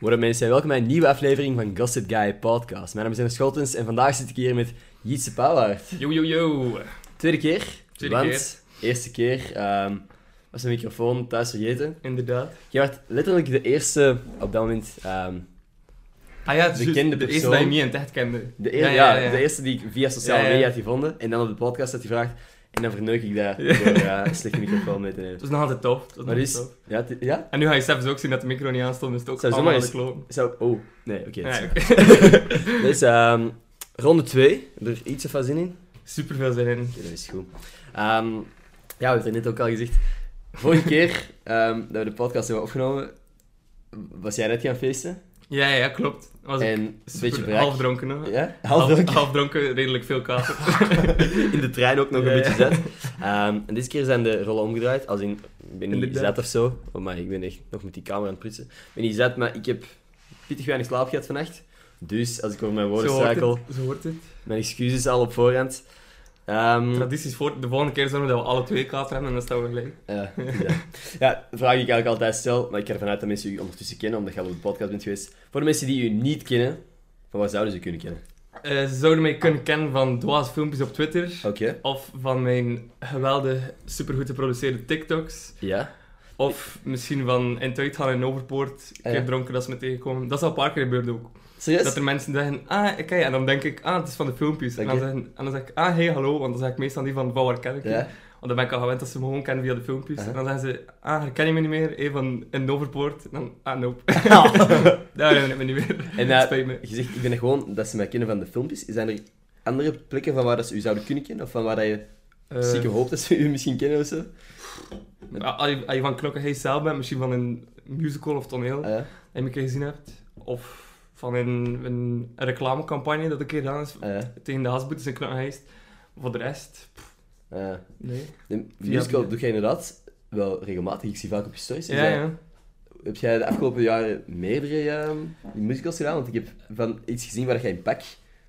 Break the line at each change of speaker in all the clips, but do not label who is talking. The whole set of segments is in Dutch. Morgen mensen, welkom bij een nieuwe aflevering van Gossip Guy Podcast. Mijn naam is Dennis Scholtens en vandaag zit ik hier met Jitse Pauwaard.
Yo, yo, yo.
Tweede keer,
Tweede
want eerste keer ehm, was mijn microfoon thuis vergeten.
Inderdaad.
Je werd letterlijk de eerste, op dat moment, ehm,
Ah ja, het is
Bekende
juist de eerste
persoon.
dat je niet in het echt kende.
de, eer-
Ja,
ja,
ja, ja.
de eerste die ik via sociale
Ja, ja.
media had gevonden. En dan op de podcast had gevraagd en dan verneuk ik dat door eh, een slechte microfoon mee te nemen.
Het was nog altijd tof. het was nog
Maar
altijd
dus,
tof.
ja, het- ja?
En nu ga je zelfs ook zien dat de micro niet aanstond, dus het ook
Zou
allemaal
zomaar
aan de kloon.
Zou, oh, nee, oké. dat is-
Ja,
Dus, ehm, ronde 2, er iets van zin in.
Super veel zin in.
Oké, dat is goed. Ehm, ja, we hebben het er net ook al gezegd. Vorige keer ehm, dat we de podcast hebben opgenomen, was jij net gaan feesten.
Ja, ja, klopt. Het was
en een
super
beetje braak.
half dronken. hoor.
Ja, half dronken.
half dronken, redelijk veel kater.
In de trein ook nog een
Ja, ja.
beetje zet. Ehm, en deze keer zijn de rollen omgedraaid. Als in, ik ben niet
Inderdaad.
zet of zo. Oh, maar ik ben echt nog met die camera aan het prutsen. Ik ben niet zet, maar ik heb pittig weinig slaap gehad vannacht. Dus als ik over mijn woorden
Zo hoort,
struikel,
het, zo hoort het.
mijn excuses al op voorhand. Ehm,
Tradities voor. De volgende keer zorgen we dat we alle twee kater hebben en dan staan we gelijk.
Ja, ja. ja, de vraag die ik eigenlijk altijd stel, maar ik ga ervan uit dat mensen u ondertussen kennen, omdat je al op de podcast bent geweest. Voor de mensen die u niet kennen, van waar zouden ze u kunnen kennen?
Eh, ze zouden mij kunnen kennen van Dwaas filmpjes op Twitter.
Oké.
Of van mijn geweldig, supergoed geproduceerde TikToks.
Ja.
Of misschien van in het uitgaan in Overpoort, een
Ah,
keer
ja.
dronken dat ze me tegenkomen. Dat is al een paar keer gebeurd ook.
Serieus?
Dat er mensen zeggen, ah, oké, en dan denk ik, ah, het is van de filmpjes. En, dan
Oké.
zeggen, en dan zeg ik, ah, hey, hallo, want dan zeg ik meestal niet van, van waar ken ik je?
Ja.
Want dan ben ik al gewend dat ze me gewoon kennen via de filmpjes.
Aha.
En dan zeggen ze, ah, herken je me niet meer? Hey, van in Overpoort. En dan, ah, nope. Daar herinner ik me niet meer.
En
En,
eh,
Spijt me.
je zegt, ik ben gewoon dat ze mij kennen van de filmpjes. Zijn er andere plekken van waar dat ze u zouden kunnen kennen? Of van waar dat je
Eh,
stiekem hoopt dat ze u misschien kennen of zo?
als, je, als je van Knokke Hey zelf bent, misschien van een musical of toneel,
Ah, ja.
dat je me een keer gezien hebt. Of van een, een reclamecampagne dat ik hier gedaan is
Ah, ja.
tegen de hasboet is een knokheist. Voor de rest, pff,
Ah, ja.
nee.
De
Via-
musical doe jij inderdaad wel regelmatig. Ik zie vaak op je stories.
Ja, ja.
Ah, Heb jij de afgelopen jaren meerdere eh, musicals gedaan? Want ik heb van iets gezien waar jij in pak...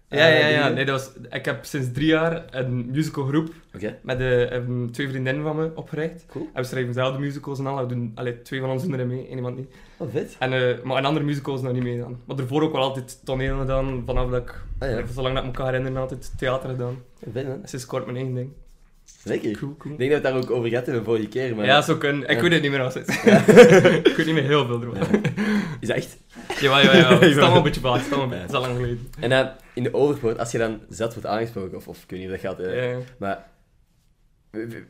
eh,
Ja, ja, ja.
dingen-
Nee, dat was, ik heb sinds drie jaar een musicalgroep
Oké.
met eh, ehm, twee vriendinnen van me opgericht.
Cool.
En we schrijven zelf de musicals en al. We doen, allee, twee van ons doen erin mee, één iemand niet.
Oh, vet.
En, eh, maar een andere musical is nog niet mee dan. Maar daarvoor ook wel altijd toneel gedaan, vanaf dat ik...
Ah ja,
Zolang dat ik me kan herinneren, altijd theater gedaan.
vet man.
En Sinds kort mijn eigen ding.
Lekker.
Cool, cool.
Ik denk dat we het daar ook over gehad hebben vorige keer, maar
Ja, zo kunnen. Ik
Ja.
weet het niet meer als het. ik weet niet meer heel veel ervan.
is dat echt?
Jawel, jawel, jawel. Het is allemaal een beetje vaag. Het is allemaal een beetje- het is al lang geleden.
En eh, in de overpoort, als je dan zat wordt aangesproken, of, of ik weet niet of dat gaat, eh,
Ja, ja.
maar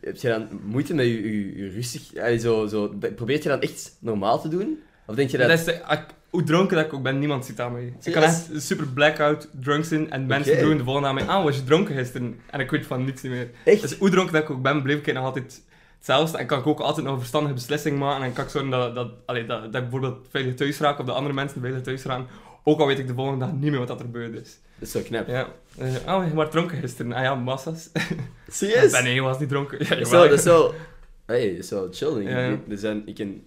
heb je dan moeite met je, je, je rustig, eh, zo, zo, dat- probeert je dan echt normaal te doen? Of denk je dat...
Dat is de- ik- hoe dronken dat ik ook ben, niemand ziet aan mij. Ik kan
Serieus?
echt super blackout drunk zijn en mensen
Oké.
doen de volgende aan mij. Ah, was je dronken gisteren? En ik weet van niets niet meer.
Echt?
Dus hoe dronken dat ik ook ben, bleef ik nog altijd hetzelfde. En kan ik ook altijd nog een verstandige beslissing maken. En kan ik zorgen dat, dat, allee, dat, dat ik bijvoorbeeld veilig thuis raak of de andere mensen veilig thuis raken. Ook al weet ik de volgende dag niet meer wat dat er gebeurd is.
Dat is zo knap.
Ja. Eh, ah, je was dronken gisteren. Ah ja, massa's.
Serieus?
Ben nee, je was niet dronken. Ja,
Dat is
jawel.
wel, dat is wel... Hey, dat is wel chill, denk ik.
Ja.
Ik- Er zijn, ik ken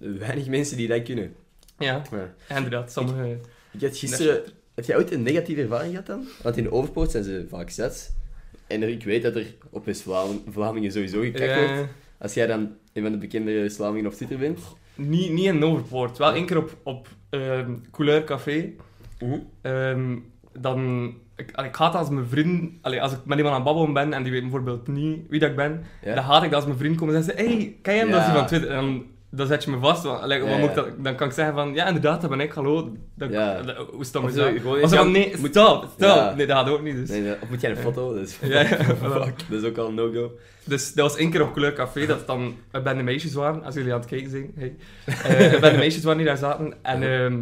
weinig mensen die dat kunnen.
Ja,
Ja.
inderdaad. Sommige...
Ik had gisteren... Heb jij ooit een negatieve ervaring gehad dan? Want in de Overpoort zijn ze vaak zes. En er- ik weet dat er op West-Vlamingen sowieso gekakt wordt.
Ja.
Als jij dan een van de bekende Slamingen op Twitter bent.
Niet, niet in Overpoort. Wel één keer op, op ehm, Couleur Café. Ehm, dan... Ik, allee, ik haat als mijn vriend... allee, als ik met iemand aan het babbelen ben en die weet bijvoorbeeld niet wie dat ik ben,
Ja.
dan haat ik dat als mijn vriend komt en zegt... Hey, ken je hem? Dat is die
Ja.
van Twitter. En dan, dan zet je me vast. Want, allee, wat
Ja,
moet ik
ja.
dat- dan kan ik zeggen van... Ja, inderdaad, dat ben ik. Hallo. Dan,
Ja.
dat- hoe stom
Of
is
zo,
dat?
gewoon
Of zo
eens
van,
gaan-
nee, stop, stop.
Ja.
Nee, dat gaat ook niet. Dus.
Nee, nee, of moet jij een foto? Dat is,
Ja, ja,
fuck, dat is ook al een no-go.
Dus dat was één keer op Kleur Café, dat het dan een bende meisjes waren, als jullie aan het kijken zijn. Hey. Eh, een bende meisjes waren die daar zaten. En ehm,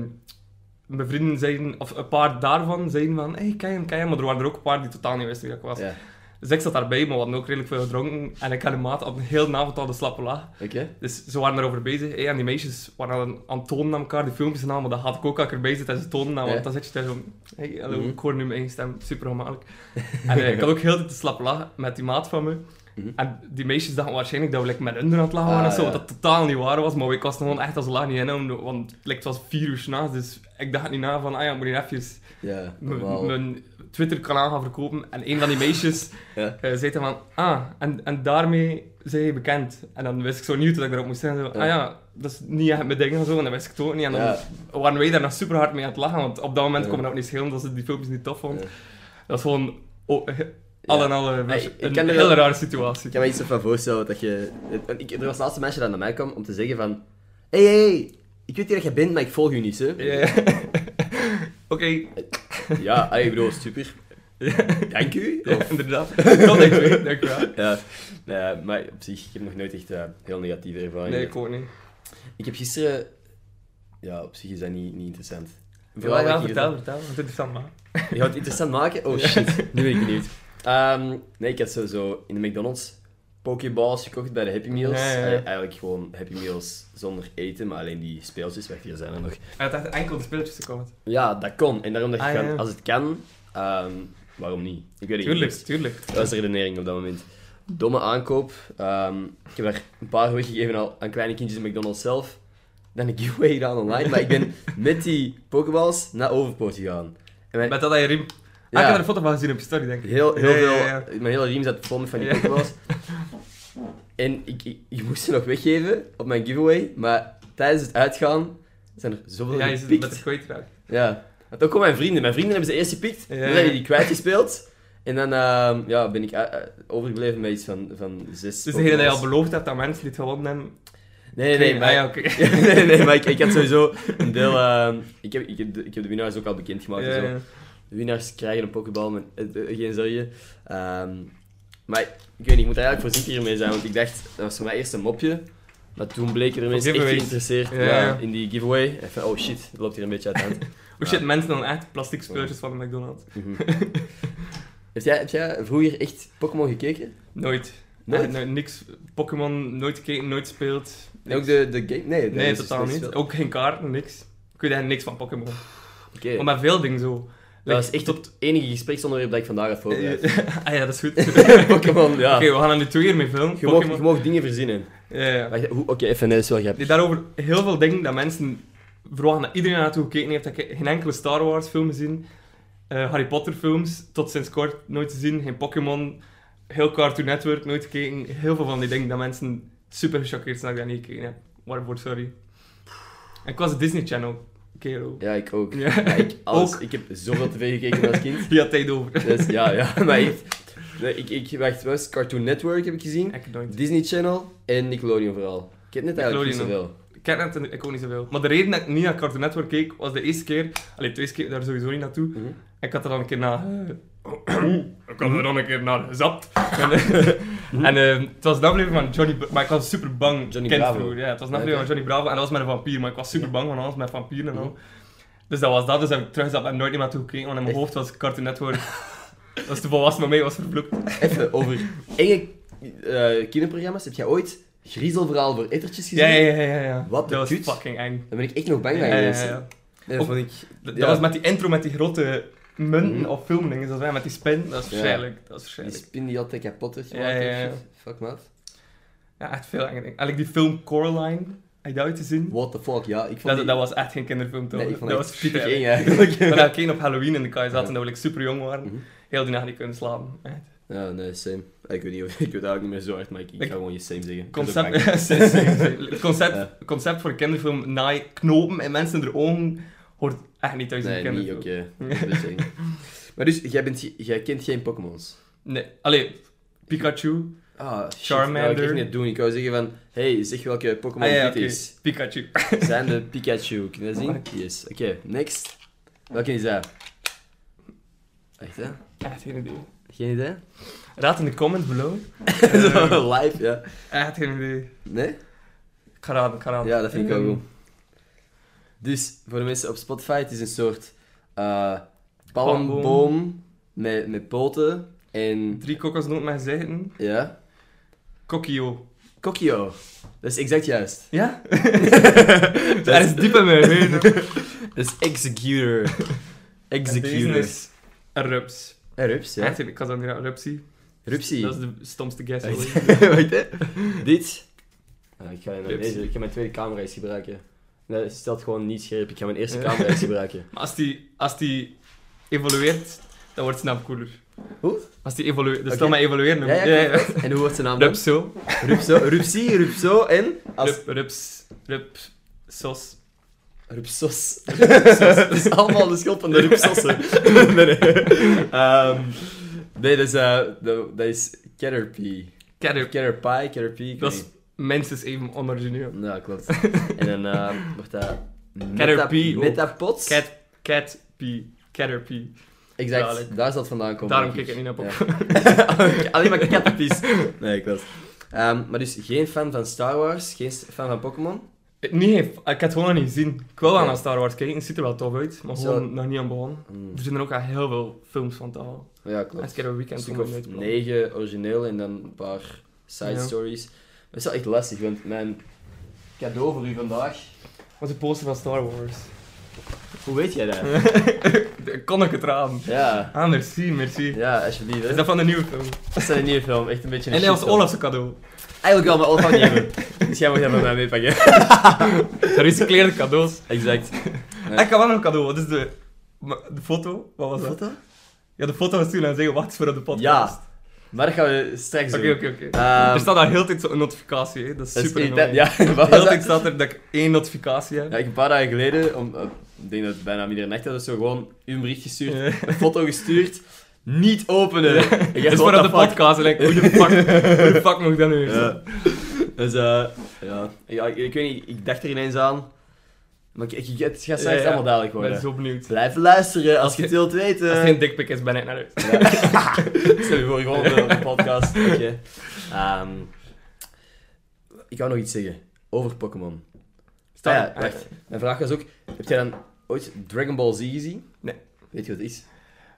mijn vrienden zeiden, of een paar daarvan zeiden van, hey, ken je hem, ken je hem?" Maar er waren er ook een paar die totaal niet wisten wie dat ik was.
Ja,
Dus ik zat daarbij, maar we hadden ook redelijk veel gedronken. En ik had een maat op een hele avond al de slappe laag.
oké.
Dus ze waren erover bezig. Hey, en die meisjes waren aan, aan het tonen aan elkaar, die filmpjes en al. Maar dat had ik ook als ik erbij zit en ze tonen aan. Want
Ja.
dan zit je daar zo... Hey, hallo,
Mhm.
ik hoor nu mijn eigen stem. Super gemakkelijk. en eh, ik had ook heel de tijd de slappe lach met die maat van me.
Mhm.
En die meisjes dachten waarschijnlijk dat we like, met hun aan het lachen waren
Ah,
of zo,
ja.
wat dat totaal niet waar was. Maar ik was gewoon echt als laag niet in, want like, het was vier uur s'nachts, dus ik dacht niet na van, ah ja, ik moet hier even
Ja,
m-
normaal.
mijn Twitter-kanaal gaan verkopen. En een van die meisjes
Ja.
eh, zei dan van, ah, en, en daarmee zijn je bekend. En dan wist ik zo nieuw dat ik erop moest zijn. Zo,
Ja.
Ah ja, dat is niet echt mijn ding en zo. En dat wist ik het ook niet. En dan
Ja.
waren wij daar nog super hard mee aan het lachen. Want op dat moment
Ja.
kon me dat ook niet schelen dat ze die filmpjes niet tof vond.
Ja.
Dat is gewoon oh, he- al
Ja.
en al een,
Hey, ik
een
ken er
hele
wel-
rare
Ik
situatie.
kan me iets van voorstellen dat je... het- want ik, er was laatste mensen dat naar mij kwam om te zeggen van... Hé, hey, hey, ik weet niet dat jij bent, maar ik volg je niet, hè.
Ja. Oké,
Ja, hey, ik bedoel, super. Dank u.
ja,
Of-
inderdaad. Dat denk ik, denk ik wel.
Ja, nou ja, maar op zich, ik heb nog nooit echt eh, heel negatieve ervaringen.
Nee, ik ook niet.
Ik heb gisteren... Ja, op zich is dat niet, niet interessant.
Ja,
dat
ja,
ik hier-
vertel, vertel. Het is interessant, man.
Je gaat het interessant maken? Oh shit, nu ben ik benieuwd. Ehm, nee, ik had sowieso in de McDonald's pokeballs gekocht bij de Happy Meals.
Ja, ja, ja.
Eh, eigenlijk gewoon Happy Meals zonder eten, maar alleen die speeltjes, wacht, hier zijn er nog.
Hij had echt enkel de speeltjes gekomen.
Ja, dat kon. En daarom dacht ik,
Ah, ja.
van, als het kan, ehm, waarom niet? Ik weet het
Tuurlijk,
niet.
tuurlijk.
Dat was de redenering op dat moment. Domme aankoop. Ehm, ik heb er een paar weggegeven al aan kleine kindjes in McDonald's zelf. Dan een giveaway gedaan online, maar ik ben met die pokeballs naar Overpoort gegaan. En mijn-
Met dat aan je riem. Ah,
Ja.
ik heb er een foto van gezien op je story, denk ik.
Heel, heel
Ja,
veel,
ja, ja.
mijn hele riem zat vol met van die
Ja.
Pokéballs. En ik, ik, ik moest ze nog weggeven op mijn giveaway, maar tijdens het uitgaan zijn er zoveel
Ja, je zit met de
gepikt.
kwijtraak.
Ja, want ook al mijn vrienden. Mijn vrienden hebben ze eerst gepikt,
Ja.
dan hebben die kwijtgespeeld. En dan ehm, ja, ben ik eh, eh, overgebleven met iets van, van zes
Dus degene die je al
Pokéballs.
beloofd hebt aan mensen die het gewonnen hebben.
Nee, nee, nee,
Ah,
maar,
ja, oké.
nee, nee, maar ik, ik had sowieso een deel... ehm, ik, heb, ik, heb de, ik heb de winnaars ook al bekendgemaakt en
Ja,
zo.
ja.
De winnaars krijgen een pokeball, maar, eh, eh, geen zorgen. Ehm, maar ik weet niet, ik moet er eigenlijk voorzichtig hiermee zijn, want ik dacht, dat was voor mij eerst een mopje. Maar toen bleken er mensen echt
giveaways.
geïnteresseerd
Ja,
ja,
ja.
in die giveaway. En van, oh shit, dat loopt hier een beetje uit de hand.
Oh shit, mensen dan echt plastic speeltjes van de McDonald's.
Mhm. heb, jij, heb jij vroeger echt Pokémon gekeken?
Nooit.
Nooit?
Echt nooit, niks. Pokémon, nooit gekeken, nooit speelt.
En ook de, de game? Nee, dat
Nee,
is-
totaal
dat is
niet.
wel-
Ook geen kaarten, niks. Ik weet eigenlijk niks van Pokémon.
Oké.
Maar met veel dingen zo.
Dat was echt het enige gespreksonderwerp dat ik vandaag had voorbereid.
ah ja, dat is goed.
Pokémon, ja.
Oké, we gaan er nu twee keer mee filmen.
Je mag, je
Pokémon.
mag dingen verzinnen.
Ja, ja.
Wacht, hoe- Oké, even, nee, dat is wel grappig.
Die daarover heel veel dingen dat mensen verwachten dat iedereen naartoe gekeken heeft. Dat ik geen enkele Star Wars film gezien, eh, Harry Potter films tot sinds kort nooit gezien, geen Pokémon, heel Cartoon Network nooit gekeken. Heel veel van die dingen dat mensen super gechoqueerd zijn dat ik dat niet gekeken heb. Waarvoor sorry. En ik was de Disney Channel keer ook.
Ja, ik ook.
Ja.
Ja, ik, alles,
Ook.
ik heb zoveel tv gekeken als kind.
Die had tijd over.
Dus, ja, ja, maar echt. Nee, ik, ik, wacht, wat was Cartoon Network heb ik gezien,
Ik nooit.
Disney Channel en Nickelodeon vooral. Ik heb net eigenlijk niet
Nickelodeon
zoveel.
Ik ken het en ik ook niet zoveel. Maar de reden dat ik niet naar Cartoon Network keek, was de eerste keer... Allee, twee keer daar sowieso niet naartoe.
Mhm.
Ik had er dan een keer naar... eh, ik had er dan een keer naar gezapt. en eh, het was een aflevering van Johnny... Bra- Maar ik was super bang.
Johnny
kind
Bravo.
vroeger, Ja, het was een
Ja, Mhm.
aflevering van
oké.
Johnny Bravo en dat was met een vampier. Maar ik was super bang van alles met vampieren en al. Dus dat was dat. Dus heb ik teruggezapt en nooit meer naartoe gekeken. Want in mijn
Echt?
hoofd was Cartoon Network... dat was te volwassen, maar mij was vervloekt.
Even over enge eh kinderprogramma's. Heb jij ooit Griezelverhaal voor ettertjes gezien?
Ja, ja, ja, ja. ja.
Wat
Dat
de
was
kut.
fucking eng.
Daar ben ik echt nog bang
Ja,
van
ja,
geweest.
ja, ja.
Nee,
Of-
dat Eh, vond ik...
Dat
Ja.
was met die intro met die grote munten
Mhm.
of filmdingen, zoals wij met die spin. Dat is
Ja.
verschrikkelijk. Dat is
Die
verschrikkelijk.
spin die altijd kapot werd
Ja,
gemaakt.
ja, ja.
of shit. Fuck, maat.
Ja, echt veel enger. Eigenlijk die film Coraline, heb je dat ooit gezien?
What the fuck, ja. Ik vond
Dat,
die-
dat was echt geen kinderfilm toch?
Nee, ik vond
dat
die
was
super eng
verschrikkelijk.
eigenlijk.
Maar dat keek op Halloween in de kaai zaten,
Ja.
dat we like, super jong waren.
Mhm.
Heel die nacht niet kunnen slapen. Echt.
Ja, nee, same. Ik weet niet, of- ik weet eigenlijk niet meer zo hard, maar ik, ik ga
Ik-
gewoon je same zeggen. Ik ben ook
Concept,
bang.
Same, same, same. Het concept,
Ja.
concept voor een kinderfilm naai knopen en mensen in hun ogen hoort echt niet thuis in
Nee,
een
niet
kinderfilm.
oké. Dat is een beetje eng. Maar dus, jij, bent, ge- jij kent geen Pokémon's?
Nee, allee, Pikachu.
Ah, shit,
Charmander.
Dat wil ik echt niet doen. Ik wou zeggen van, hey, zeg welke Pokémon
Ah ja,
dit
oké.
is.
Pikachu.
Zijn de Pikachu. Kun je dat zien? Yes. Oké, next. Welke is dat? Echt, hè?
Echt geen idee.
Geen idee?
Raad in de comments below.
Zo
Eh.
Live, ja.
Echt geen idee.
Nee?
Ik ga raden, ik ga raden.
Ja, dat vind ik
Ehm,
wel goed. Dus, voor de mensen op Spotify, het is een soort eh palmboom met, met poten en...
Drie kokosnoten met gezeten.
Ja?
Kokio.
Kokio. Dat is exact juist.
Ja? Daar is diep in mijn heen.
Dat is executor.
Executor.
executor.
is een rups.
Hey, rups, ja.
Echt, ik had dat niet aan rups zien.
Rupsie.
Dat is de stomste guess.
Wacht,
ooit.
wacht, hè. Dit. Ah, ik, ga mijn,
Rupsie.
deze- ik ga mijn tweede camera eens gebruiken. Nee, stelt gewoon niet scherp. Ik ga mijn eerste
Ja.
camera eens gebruiken.
Maar als die, als die evolueert, dan wordt Snap cooler.
Hoe?
Als die evolueert. Dus
Oké.
stel maar evolueren.
Ja, ja,
ja, ja.
En hoe wordt zijn naam dan?
Rupso.
Rupso. Rupsie, Rupso en... Als...
Rup, rups, rup, sos.
Rupsos. Het is allemaal de schuld van de Rupsossen. nee, nee. Ehm, nee, dat is... eh, dat dat is Caterpie.
Kerp.
Caterpie, Caterpie. ik
Dat
weet
is minstens even onorigineel.
niet. Ja, klopt. en dan ehm, wordt dat...
Caterpie ook.
Meta- Metapods?
Cat, cat, pie, caterpie.
Exact,
Zalig.
daar is dat vandaan komen.
Daarom
denk
kijk ik niet
Ja. Alleen maar kattenpies. Nee, klopt. Ehm, maar dus geen fan van Star Wars, geen s- fan van Pokémon.
Eh, Nee, ik had het gewoon nog niet gezien. Ik wil wel
Ja.
naar Star Wars kijken, het ziet er wel tof uit, maar
Zo.
gewoon nog niet aan begonnen.
Hmm,
Er zijn er ook al heel veel films van te halen.
Ja,
Als
klopt.
ik er een
Een
weekend
stuk
kom
of
uit.
negen origineel en dan een paar side
Ja.
stories. Maar het is wel echt lastig, want mijn cadeau voor u vandaag...
Wat is de poster van Star Wars?
Hoe weet jij dat?
Kon ik het raam?
ja.
Ah, merci, merci.
Ja, alsjeblieft. hè.
Is dat van de nieuwe film?
Dat is een nieuwe film, echt een beetje een
En dat was
shitfilm.
Olaf's cadeau.
Eigenlijk wel, maar Olaf niet hebben. Dus jij moet dat bij mij meepakken.
Gerecycleerde cadeaus.
Exact. Ja.
En Ik had wel nog een cadeau, wat is de... maar De foto? Wat was dat? Ja, de foto was toen en zeggen, wacht voor op de podcast.
Ja. Maar dat gaan we straks
Oké,
doen.
oké, oké.
Ehm,
Er staat daar heel de tijd zo'n notificatie, hè. dat is
dat is
super
irritant.
annoying.
Ja, wat
Heel
was
de tijd
dat?
staat er dat ik één notificatie heb.
Ja, ik een paar dagen geleden, om, eh, ik denk dat het bijna iedere nacht had, of zo gewoon een bericht gestuurd,
Ja.
een foto gestuurd, niet openen.
Ja.
Ik dacht,
Het is
what
voor
the
op de
fuck?
podcast. en ik, hoe, de fuck, hoe de fuck moet ik dat nu weer
Ja.
doen?
Dus eh, ja, ja ik, ik weet niet, ik dacht er ineens aan, maar ik, ik, het gaat straks
Ja, ja.
allemaal duidelijk
Ik ben
worden.
zo benieuwd.
Blijf luisteren als je het
je-
wilt weten.
Als het geen dikpik is, ben ik naar huis.
Ja. Stel je voor, gewoon op de, op de podcast. Oké. Ehm, ik wou nog iets zeggen over Pokémon.
Star-
Ah ja, wacht. Mijn vraag was ook, heb jij dan ooit Dragon Ball Z gezien?
Nee.
Weet je wat het is?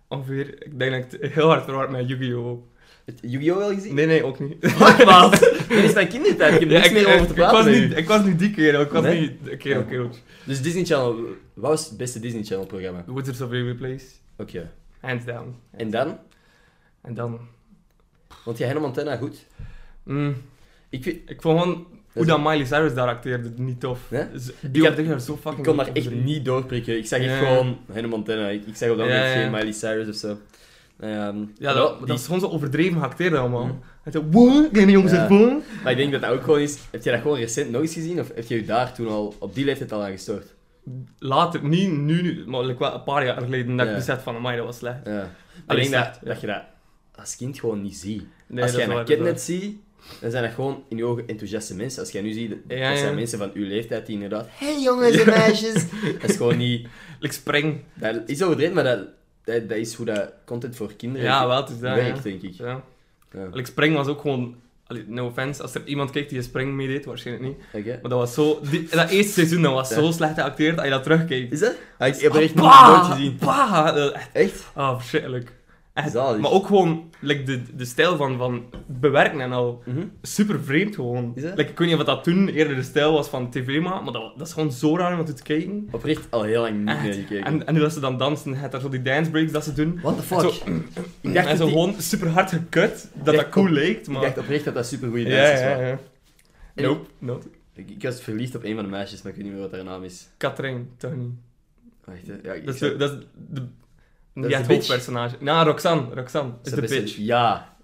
Ongeveer, ik denk dat ik het heel hard verward met Yu-Gi-Oh!
Het Yu-Gi-Oh wel gezien?
Nee, nee, ook niet.
Fuck, maat. Dit is mijn kindertijd. Ik heb niks meer over te praten
ik was,
met
niet,
u.
ik was niet die kerel, ik was
Nee?
niet de kerel,
Ja.
kerel.
Dus Disney Channel. Wat was het beste Disney Channel programma? Oké.
Wizards of Waverly Place, hands down.
En dan?
En dan...
Want jij Hannah Montana goed?
mm,
Ik, vind-
ik vond gewoon, hoe
is-
dat Miley Cyrus daar acteerde, niet tof.
Nee?
Dus
Ik
Die
heb-
had er zo fucking
ik kon
goed
daar
op
echt
drie.
niet doorprikken. Ik zag echt
Ja.
gewoon Hannah Montana. Ik, ik zag op dat
Ja,
moment
ja.
geen Miley Cyrus of zo. Ehm, wel,
Ja, dat,
die-
dat is gewoon zo overdreven geacteerd allemaal.
Mm.
Hij zei, wow, ken je jongens
Ja.
het boom?
Maar ik denk dat dat ook gewoon is... Heb jij dat gewoon recent nog eens gezien? Of heb je je daar toen al op die leeftijd al aan gestoord?
Later, niet nu, nu maar like, wel een paar jaar geleden, dat
Ja.
ik besef van, amai, dat was slecht.
Ja. Maar
Allee,
ik denk dat,
ja.
dat je dat als kind gewoon niet ziet.
Nee,
als
dat
jij
is
een
waar,
kind
dat
net
is
ziet, dan zijn dat gewoon in je ogen enthousiaste mensen. Als jij nu ziet, dat
Ja,
dat zijn
ja.
mensen van uw leeftijd die inderdaad... hey, jongens en meisjes! Dat is gewoon niet...
waar. Ik spring.
Dat is overdreven, maar dat, dat, dat is hoe dat content voor kinderen
Ja, wel, het is dat,
werkt,
ja.
denk ik.
Ja.
Ja. Oké.
Ik spring was ook gewoon... allee, no offense, als er iemand kijkt die een spring meedeed, waarschijnlijk niet. Maar dat was zo... die- dat eerste seizoen, dat was
Ja.
zo slecht geacteerd, als je dat terugkijkt.
Is dat? Ah, ik heb er echt
Ah,
nooit gezien.
bah, dat- echt,
Echt?
Ah, verschrikkelijk. Echt.
Zalig.
Maar ook gewoon like, de, de stijl van, van bewerken en al.
Mhm.
Super vreemd gewoon.
Is dat?
Like, ik weet niet wat dat toen eerder de stijl was van tv maar, maar dat, dat is gewoon zo raar om dat te kijken.
Oprecht al heel lang niet
Echt.
meer gekeken.
En, en nu dat ze dan dansen, het daar zo die dance breaks dat ze doen.
What the
Zo,
fuck? ik dacht,
en
dat
zo
die-
gewoon super hard gekut, dat
Ja,
dat cool
ik-
leek,
ik
maar...
dacht oprecht dat dat super goede
ja,
dansers
ja,
waren.
ja.
En-
Nope, nope.
Ik, ik was verliefd op een van de meisjes, maar ik weet niet meer wat haar naam is.
Katrin, toch niet.
Wacht, hè. ja, ik
Dat is
zou-
de... Dat is de
is
ja,
de
het
bitch.
hoofdpersonage. Nou, Roxanne. Roxanne is
zou
de
best-
bitch.
Ja,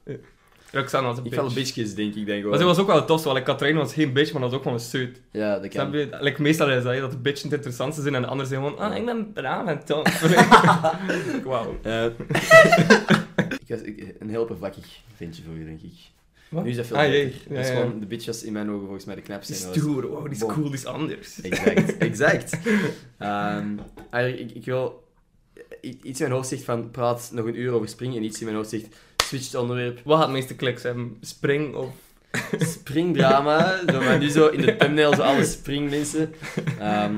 Roxanne was een
ik
bitch.
val bitchjes, denk ik. Denk ik
Maar ze was ook wel tof, want like, Katrin was geen bitch, maar dat was ook gewoon een suit.
Ja, dat
Snap
kan.
je? Like, meestal is dat, hè, dat de bitches het interessantste zijn en de anderen zijn gewoon, ah, ik ben braaf en tof. Wauw.
Eh, ik was ik- een heel oppervlakkig ventje voor je, denk ik. Nu is dat veel
Ah, jee.
beter.
Ja,
dat is
ja.
gewoon, de bitch was in mijn ogen volgens mij de
Die
knapste.
is
en dat was-
stoer, wow, die is
Bom.
cool, die is anders.
Exact, exact. Ehm, eigenlijk, ik, ik wil... i- Iets in mijn hoofd zegt van, praat nog een uur over springen. En iets in mijn hoofd zegt, switch het onderwerp.
Wat gaat het meeste kliks hebben? Spring of...
springdrama. zo, maar nu zo in de thumbnail zo alle springmensen. Ehm,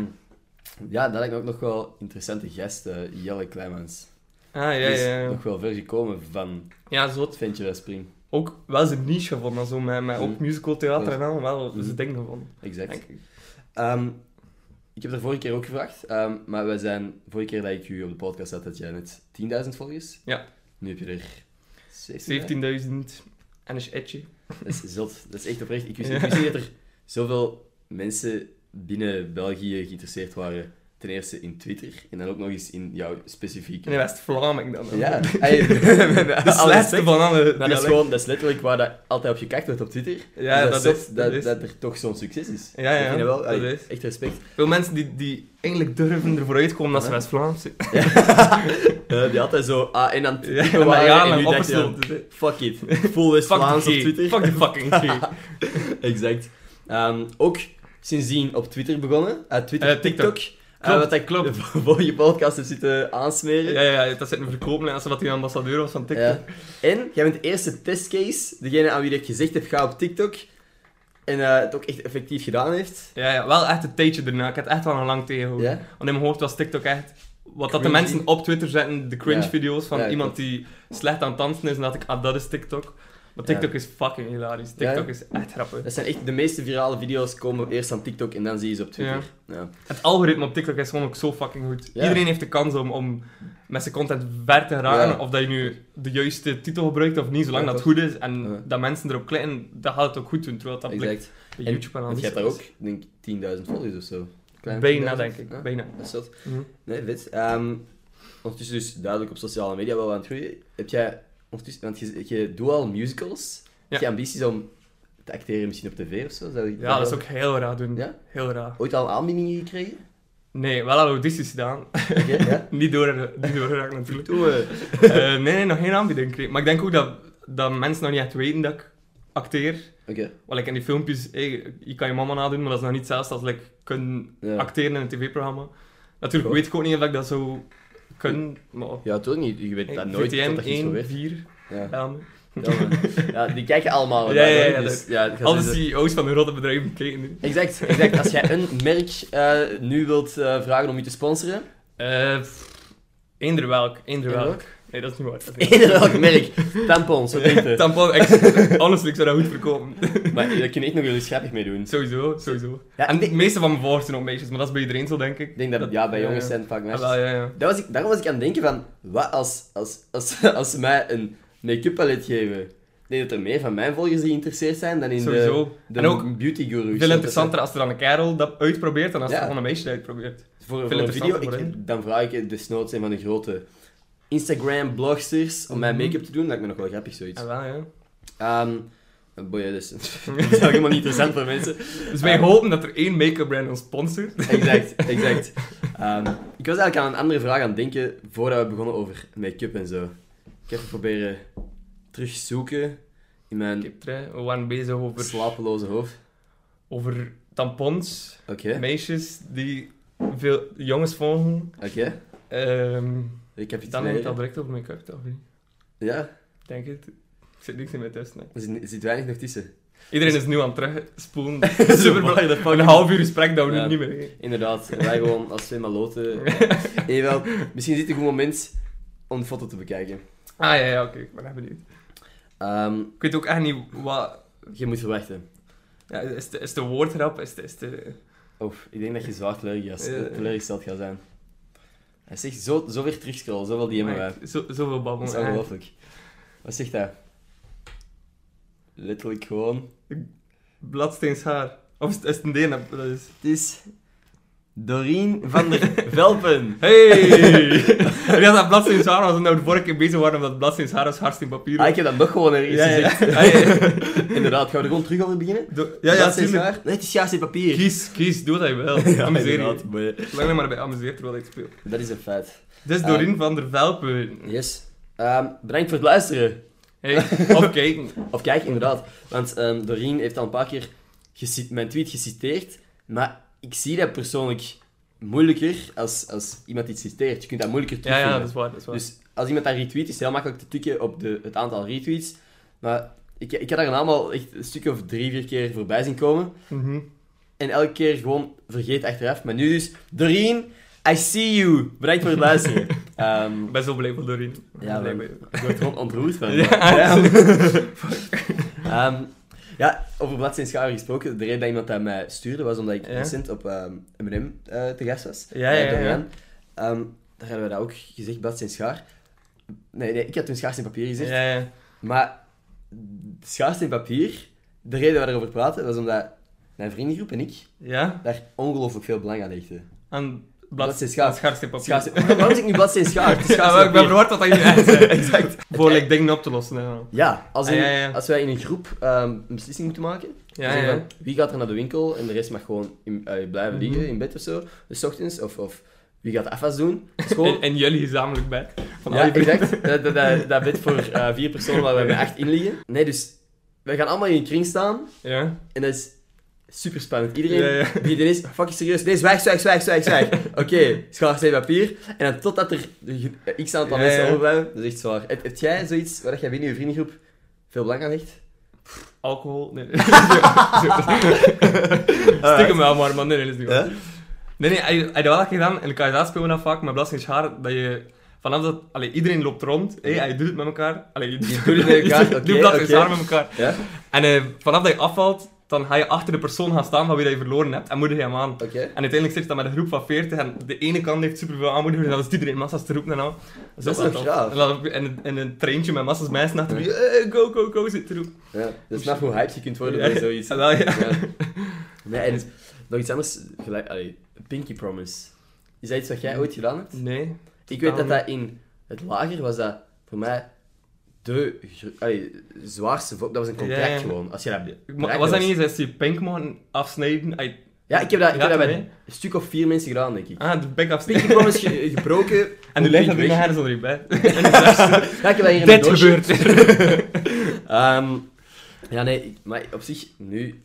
ja, dat lijkt me ook nog wel interessante gast, eh, Jelle Kleimans.
Ah, ja,
Die is
ja, ja.
nog wel ver gekomen van
Ja, zo
het ventje dat springt.
ook wel zijn niche gevonden, zo met, met ook
Mm.
musical theater en al, wel
Mm.
zijn ding gevonden.
Exact.
Denk ik.
Ehm, ik heb er vorige keer ook gevraagd, ehm, maar wij zijn... Vorige keer dat ik u op de podcast had, had jij net 10.000 volgers.
Ja.
Nu heb je er 17.
17.000 en een etje.
Dat is zot. Dat is echt oprecht. Ik wist, ik wist niet dat er zoveel mensen binnen België geïnteresseerd waren. Ten eerste in Twitter en dan ook nog eens in jouw specifieke.
In West-Vlaming dan. ook.
Ja,
De slechtste van alle
Maar dat is,
dialecten.
gewoon, dat is letterlijk waar dat altijd op gekakt wordt op Twitter.
Ja,
Dus
dat
zot
is- dat
dat,
is.
dat er toch zo'n succes is.
Ja, ja,
Ik vind dat wel,
dat
allee,
is.
echt respect.
Veel mensen die, die eigenlijk durven ervoor uitkomen dat ze
Ja.
West-Vlaams zijn.
Eh, die altijd zo ah, en aan het
Ja,
typen
maar
waren
ja,
en
maar
nu dacht je dan,
opgesloten.
fuck it, full
Fuck de
West-Vlaams op
G.
Twitter.
Fuck de fucking G.
Exact. Ehm, ook sindsdien op Twitter begonnen, uit Twitter,
Eh, TikTok.
TikTok. Eh,
Klopt,
wat ik
klopt.
de vorige podcast heb zitten aansmeren.
Ja, ja, ja, dat zit een verkoopling als dat die ambassadeur was van TikTok.
Ja. En jij bent de eerste testcase, degene aan wie ik gezegd heb, ga op TikTok. En eh, het ook echt effectief gedaan heeft.
Ja, ja, wel echt een tijdje daarna. Ik had echt wel een lang tegenhouden.
Ja.
Want in mijn hoofd was TikTok echt... Wat dat de
Cringy.
mensen op Twitter zetten, de
Ja.
cringe-video's van
Ja,
iemand die slecht aan het dansen is en dat ik, ah, dat is TikTok. Maar
Ja.
TikTok is fucking hilarisch.
Ja.
TikTok is echt grappig.
Dat zijn echt de meeste virale video's komen eerst aan TikTok en dan zie je ze op Twitter. Ja.
Het algoritme op TikTok is gewoon ook zo fucking goed.
Ja.
Iedereen heeft de kans om, om met zijn content ver te geraken.
Ja.
Of dat je nu de juiste titel gebruikt of niet, zolang
Ja,
dat het
klopt.
goed is. En
Ja.
dat mensen erop klikken, dat gaat het ook goed doen. Terwijl dat blijkt
exact.
bij
En-
YouTube en al
Want je
niet
hebt
zo
daar
is.
ook, denk ik, 10.000 volgers of zo. Klein
Bijna,
10.000.
denk ik.
Ja,
Bijna.
Dat is zot.
Mhm.
Nee, wit. Ehm, ondertussen dus duidelijk op sociale media wel aan het groeien. Heb jij ondertussen, want je, je doet al musicals. Heb je
Ja.
ambities om te acteren misschien op tv of zo? Zou je-
Ja, dat is ook heel raar doen.
Ja?
Heel raar.
Ooit al aanbiedingen gekregen?
Nee, wel al audities gedaan.
Oké, ja.
niet door, niet doorgeraakt natuurlijk.
Toen we...
Eh, nee, nee, nog geen aanbieding gekregen. Maar ik denk ook dat, dat mensen nog niet echt weten dat ik acteer.
Oké.
Wel, ik in die filmpjes, hey, je kan je mama nadoen, maar dat is nog niet hetzelfde als like, kunnen
Ja.
acteren in een tv-programma. Natuurlijk
Klopt.
weet ik ook niet of ik dat zou kunnen, maar...
Ja, toch niet. Je weet
Hey,
dat nooit
VTM
totdat je iets
1,
probeert.
4,
Ja.
Elmen.
Ja, man. ja, die kijken allemaal.
Ja,
naar,
ja,
hè,
ja,
dus,
dat-
ja, het gaat
Alle
sowieso-
CEO's van de rotte bedrijven kijken nu.
Exact, exact. Als jij een merk eh, nu wilt eh, vragen om je te sponsoren,
Eh, pff, eender welk, eender
Eender
welk. Nee, dat is niet waar. Dat is niet
eender welk merk, tampons, wat denk
waar.
je?
Tampon, ik- honestly, ik zou dat goed verkopen.
Maar daar kun je echt nog wel eens grappig mee doen.
sowieso, sowieso.
Ja,
En
ik
de
denk,
meeste van mijn volgers zijn ook meisjes, maar dat is bij iedereen zo, denk ik.
ik denk dat, ja, bij jongens
ja.
zijn het vaak
Ah,
meisjes.
wel, ja, ja.
Daar was, ik, daar was ik aan het denken van, wat als, als, als, als ze mij een make-up palet geven? Ik denk dat er meer van mijn volgers die geïnteresseerd zijn dan in
Sowieso.
de, de
En ook
beauty guru.
Veel interessanter als er dan een kerel dat uitprobeert dan als er
Ja.
gewoon een meisje dat uitprobeert.
Voor,
veel
voor een video,
interessanter voor
ik- dan vraag ik desnoods een van de grote Instagram-blogsters om mijn
Mhm.
make-up te doen. Lijkt me nog wel grappig, zoiets.
Ah, wel, ja.
Ehm boeien, dus. dat is ook helemaal niet interessant voor mensen.
Dus wij
Ah.
hopen dat er één make-up brand ons sponsort.
Exact, exact. Ehm, ik was eigenlijk aan een andere vraag aan het denken voordat we begonnen over make-up en zo. Ik heb even proberen terugzoeken in
Ik
mijn
heb het, hè. We waren bezig over,
slapeloze hoofd.
over tampons,
Oké,
meisjes die veel jongens volgen.
oké.
Ehm,
Ik heb iets
dan heb ik het al
meer.
direct over make-up, toch? niet?
Ja,
Ik Denk het. Ik zit niks in mijn test, nee.
er zit, er zit weinig nog tussen.
Iedereen is nu aan het terugspoelen.
Zo,
Super
what the fuck?
Een half uur gesprek dat we
Ja.
nu niet meer heen.
Inderdaad, en wij gewoon als twee maloten. Evenwel, misschien is dit een goed moment om de foto te bekijken.
Ah ja, ja oké, ik ben echt benieuwd.
Ehm,
Ik weet ook echt niet wat.
je moet verwachten.
Ja, is, de, is de woordgrap? Is de, is de...
Oh, ik denk dat je zwaar teleurgesteld-
Eh.
teleurgesteld gaat zijn. Hij zegt zo, zo weer terugscrollen, zoveel die hebben wij.
Mike, zo, zoveel
Dat
babbel.
is
hè.
ongelooflijk. Wat zegt hij? Letterlijk gewoon.
Bladsteens haar. Of is het, is het een DNA? Dat is...
Het is Doreen van der Velpen.
Hey! Ik dacht dat bladsteens haar was, omdat we nou de vorige keer bezig waren omdat bladsteens haar was hardst in papier.
Ah, ik heb dat nog gewoon ergens
ja, ja.
gezegd.
Ah, ja,
Inderdaad, gaan we er gewoon terug over beginnen?
Doe- ja, ja,
dat is
tuurlijk.
waar. Nee, het is juist in papier.
Kies, kies, doe dat je wel. Amuseer je.
inderdaad, maar-
Lang maar bij amuseer terwijl ik speel.
Dat is een feit.
Dit is
Ah.
Doreen van der Velpen.
Yes. Ehm, bedankt voor het luisteren.
Hey, of kijken.
Of kijk, inderdaad. Want ehm, Doreen heeft al een paar keer geci- mijn tweet geciteerd. Maar ik zie dat persoonlijk moeilijker als, als iemand iets citeert. Je kunt dat moeilijker
Ja,
terugvinden.
ja, dat is waar, dat is waar.
Dus als iemand dat retweet, is het heel makkelijk te tikken op de, het aantal retweets. Maar ik, ik heb daar een aantal echt een stuk of drie, vier keer voorbij zien komen.
Mhm.
En elke keer gewoon vergeet achteraf. Maar nu dus, Doreen, I see you. Bedankt voor het luisteren. Ehm,
Ik ben zo blij voor Doreen. Ik ben
Ja,
blij
man.
bij-
ik word gewoon ontroerd van.
Ja.
Ehm, ja, over bladzijden schouder gesproken. De reden dat iemand dat mij stuurde was omdat ik
Ja.
recent op ehm, M&M eh, te gast was.
Ja, ja,
Eh, door
ja.
Jan. Ehm, daar hadden we dat ook gezegd, bladzijden schaar. Nee, nee, ik had toen schaars in papier gezegd.
Ja, ja.
Maar schaarste in papier, de reden waar we erover praten, was omdat mijn vriendengroep en ik
Ja?
daar ongelooflijk veel belang aan hechten.
En blad...
Dat is schaars.
Schaarste papier.
Schaarste... Waarom zeg ik nu bladzijde schaar? Het is
Ja,
schaarste
maar Ah, ik ben
papier.
verward wat dat je echt zei.
Exact.
Voor like, dingen op te lossen. Ja,
Ja, als, in-
Ah, ja, ja.
als wij in een groep ehm, een beslissing moeten maken,
ja.
Zo
ja,
van, wie gaat er naar de winkel en de rest mag gewoon in, eh, blijven liggen
Mhm.
in bed of zo, dus 's ochtends, of, of wie gaat de afwas doen? School.
En, en jullie gezamenlijk bij. Van ah, al
Ja,
je vrienden.
exact. Dat, dat, dat, dat bed voor eh, vier personen waar we met acht in liggen. Nee, dus wij gaan allemaal in een kring staan
Ja.
en dat is super spannend. Iedereen
Ja, ja.
die er is, fucking serieus, nee, zwijg, zwijg, zwijg, zwijg, zwijg. Oké, schaar, steen, papier. En dan totdat er eh, x aantal
Ja,
mensen
ja.
overblijven, dat is echt zwaar. Heb, heb jij zoiets waar dat jij binnen je vriendengroep veel belang aan hecht?
Alcohol. Nee. nee. Stiekem wel, maar, maar nee, nee, dat is niet waar. Nee, nee, hij hij had wel dat gedaan. In de KSA spelen we dat vaak met Blasting Haar. Dat je vanaf dat. Allee, iedereen loopt rond. Hé, hij doet het met elkaar. Allee, je doet,
Je doet het met elkaar,
je doet
oké,
Blasting
oké.
Haar met elkaar.
Ja?
En eh, vanaf dat je afvalt, dan ga je achter de persoon gaan staan van wie dat je verloren hebt. En moedig je hem aan.
Oké.
En uiteindelijk zit je dan met een groep van 40 en de ene kant heeft superveel aanmoediging, dan is iedereen massa's te roepen en al.
Dat is
ook wel
toch gaaf?
tof. En, dan- en, en een treintje met massa's mensen achter je, eh, go, go, go, zit te roepen.
Ja, dat is maar hoe hyped je kunt worden bij zoiets.
Ja, Ah, wel, ja.
Ja. Nee, en nog iets anders, gelijk, allee, Pinky Promise. Is dat iets wat jij ooit gedaan hebt?
Nee.
Ik weet dat dat in het lager was dat voor mij de gro- allee, zwaarste vorm. Dat was een contract
Ja, ja.
gewoon. Als je dat
Maar
bereikt
was dat
was.
niet eens als je pink man afsnijden? Ai,
Ja, ik heb dat, ik
Ja,
heb dat bij
nee.
een stuk of vier mensen gedaan, denk ik.
Ah, de bek
Pinky
afsnijden.
Promise ge- gebroken.
En nu
pink
ligt dat
weg.
mijn haar zo niet bij.
Ja, ik heb dat hier in een
Dit
doosje.
gebeurt.
Ehm, ja, nee, ik- maar op zich, nu...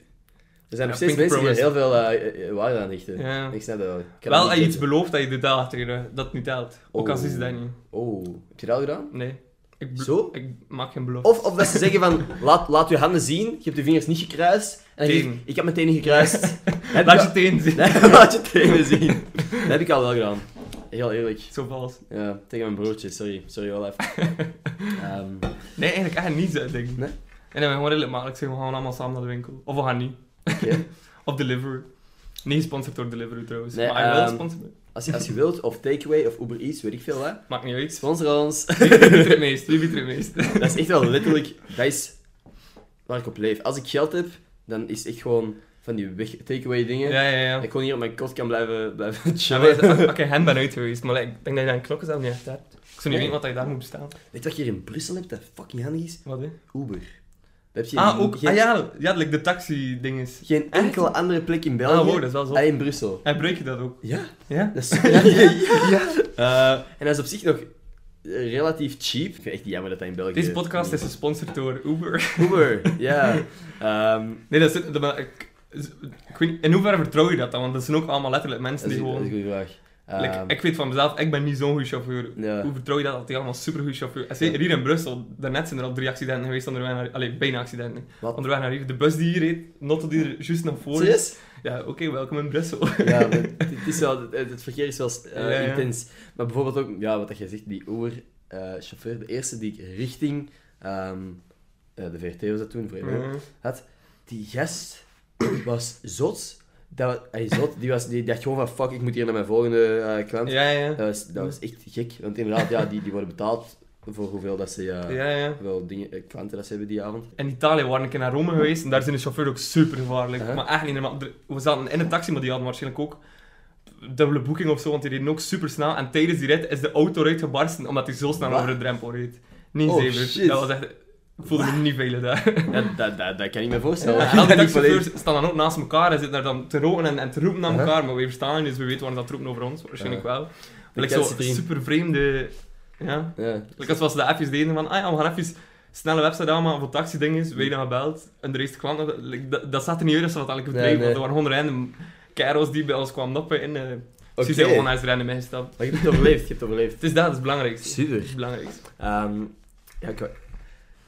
Er zijn nog
Ja,
steeds
Pinky
mensen die er heel
Promise.
veel eh, eh, waarde aan hechten.
Ja.
Ik snap dat wel. Ik kan
Wel,
dat
als
niet
je iets
zeggen.
belooft dat je dit daalt, hè, dat niet telt. Ook als is dat niet.
Oh, heb je dat al gedaan?
Nee. Ik bel-
Zo?
Ik maak geen belofte.
Of, of dat ze zeggen van, laat, laat je handen zien, je hebt je vingers niet gekruist. En dan zeg ik,
Tenen.
ik heb mijn tenen gekruist. Heb
Laat je
ik
teen zien.
al- Nee, laat je tenen zien. Dat heb ik al wel gedaan. Heel eerlijk.
Zo vals.
Ja, tegen mijn broertje, sorry. Sorry, wel even. Ehm,
Nee, eigenlijk echt niet, eh, denk ik.
Nee?
Nee? En dan gewoon redelijk makkelijk zeggen, we gaan allemaal samen naar de winkel. Of we gaan niet.
Oké.
of Deliveroo. Niet gesponsord door Deliveroo trouwens.
Nee,
maar hij
ehm,
wil sponsoren.
als, je, als je wilt, of Takeaway of Uber Eats, weet ik veel hè.
Maakt niet uit.
Sponsor ons.
Wie wie biedt er het meest? Wie biedt er het meest?
Dat is echt wel letterlijk, dat is waar ik op leef. Als ik geld heb, dan is echt gewoon van die weg- takeaway dingen.
ja, ja, ja.
Dat ik gewoon hier op mijn kot kan blijven, blijven
Ja,
chillen.
maar dat- Oké, hem ben uit geweest, maar like, ik denk dat je dan klokken zelf niet echt hebt. Ik zou niet
Nee.
weten wat je daar moet bestaan.
Weet je wat je hier in Brussel hebt dat fucking handig is?
Wat, hè?
Uber. Dat heb je
Ah,
in
ook.
geen,
Ah ja, ja like de taxi-dinges.
geen enkele andere plek in België.
Ah, wow, dat is wel zo.
Alleen Brussel.
En breek je dat ook?
Ja,
Ja?
dat is super handig. Eh, en dat is op zich nog eh, relatief cheap. Ik vind het echt jammer dat dat in België...
Deze podcast is gesponsord door Uber.
Uber, ja. Ehm,
Nee, dat is... dat- maar ik, ik weet niet, in hoeverre vertrouw je dat dan? Want dat zijn ook allemaal letterlijk mensen
dat, is,
die
dat is
gewoon...
een goede vraag.
Like,
Ehm,
ik weet van mezelf, ik ben niet zo'n goede chauffeur.
Ja.
Hoe vertrouw je dat dat die allemaal super goede chauffeur En zeker hier in Brussel, daarnet zijn er al drie accidenten geweest onderweg naar... Allee, bijna accidenten.
Wat?
Onderweg naar hier. De bus die hier reed, notte die er juist naar voren
serieus?
Ja, oké, welkom in Brussel.
Ja, maar het, het is wel, het, het verkeer is wel eh,
Ja, ja.
intens. Maar bijvoorbeeld ook, ja, wat dat jij zegt, die Uber-chauffeur, de eerste die ik richting ehm, eh, de VRT was dat toen, voor even,
Ja.
had, die gast was zot. Dat, wa- hij zot die, was, die dacht gewoon van, fuck, ik moet hier naar mijn volgende eh, klant.
Ja, ja.
Dat, was, dat was echt gek, want inderdaad, ja, die, die worden betaald voor hoeveel dat ze, eh,
Ja, ja.
hoeveel dingen, eh, klanten dat ze hebben die avond.
In Italië waren we een keer naar Rome geweest en daar zijn de chauffeurs ook super gevaarlijk.
Uh-huh.
Maar echt niet normaal. Er- We zaten in een taxi, maar die hadden waarschijnlijk ook dubbele boeking of zo, want die reden ook super snel. En tijdens die rit is de auto eruit gebarsten omdat hij zo snel
Wat?
over de drempel reed. Niet
Oh,
zeker.
shit.
Dat was echt. Ik voelde me niet veilig daar.
Dat, dat, dat, dat kan ik me voorstellen.
En al die
Dat niet volledig-
taxichauffeurs staan dan ook naast elkaar en zitten daar dan te roken en, en te roepen naar
Uh-huh.
elkaar, maar we verstaan niet, dus we weten waar dat roepen over ons, waarschijnlijk wel. Maar ik
kent
zo
ze erin.
super vreemde. Ja,
Ja.
Like als we als Dus de appjes deden van, ah ja, we gaan even snelle website aanmaken voor taxi-ding is, wij dan gebeld, en de rest klant, nog- like, dat, dat zat er niet uit als we dat eigenlijk
Nee,
bedreven,
nee.
want er waren gewoon random kerels die bij ons kwamen noppen en eh
Oké.
ze zijn gewoon naar random ingestapt.
Maar je hebt het overleefd, je hebt het overleefd.
Het is dat, dat is het belangrijkste.
Super.
Het is het belangrijkste.
Ehm ja, ik... wou-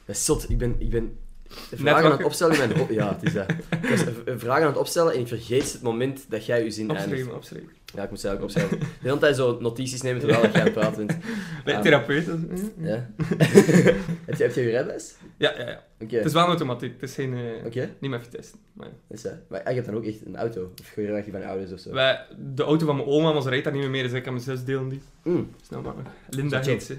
Dat is zot. Ik ben, ik ben vragen
wakker.
aan het opstellen in mijn ho- Ja, het is dat. Ik was v- vragen aan het opstellen en ik vergeet het moment dat jij je zin eindigt.
Opschrijven, opschrijven.
Ja, ik moet ze eigenlijk opstellen. De hele tijd zo notities nemen terwijl dat jij aan het praten bent.
Nee,
Ah.
therapeut. dat is-
Ja. heb, je, heb je je rijbewijs?
Ja, ja, ja.
Oké.
Het is wel een automatiek, het is geen... eh,
Oké,
Niet met Vitesse. Maar, ja.
dat is dat. Maar je hebt dan ook echt een auto. Of gewoon je van je ouders of zo.
Wij, de auto van mijn oma, maar ze rijdt daar niet meer mee, dus ik kan mijn zus delen die.
Mm.
Snel maar. Linda
Zo chill.
heet ze.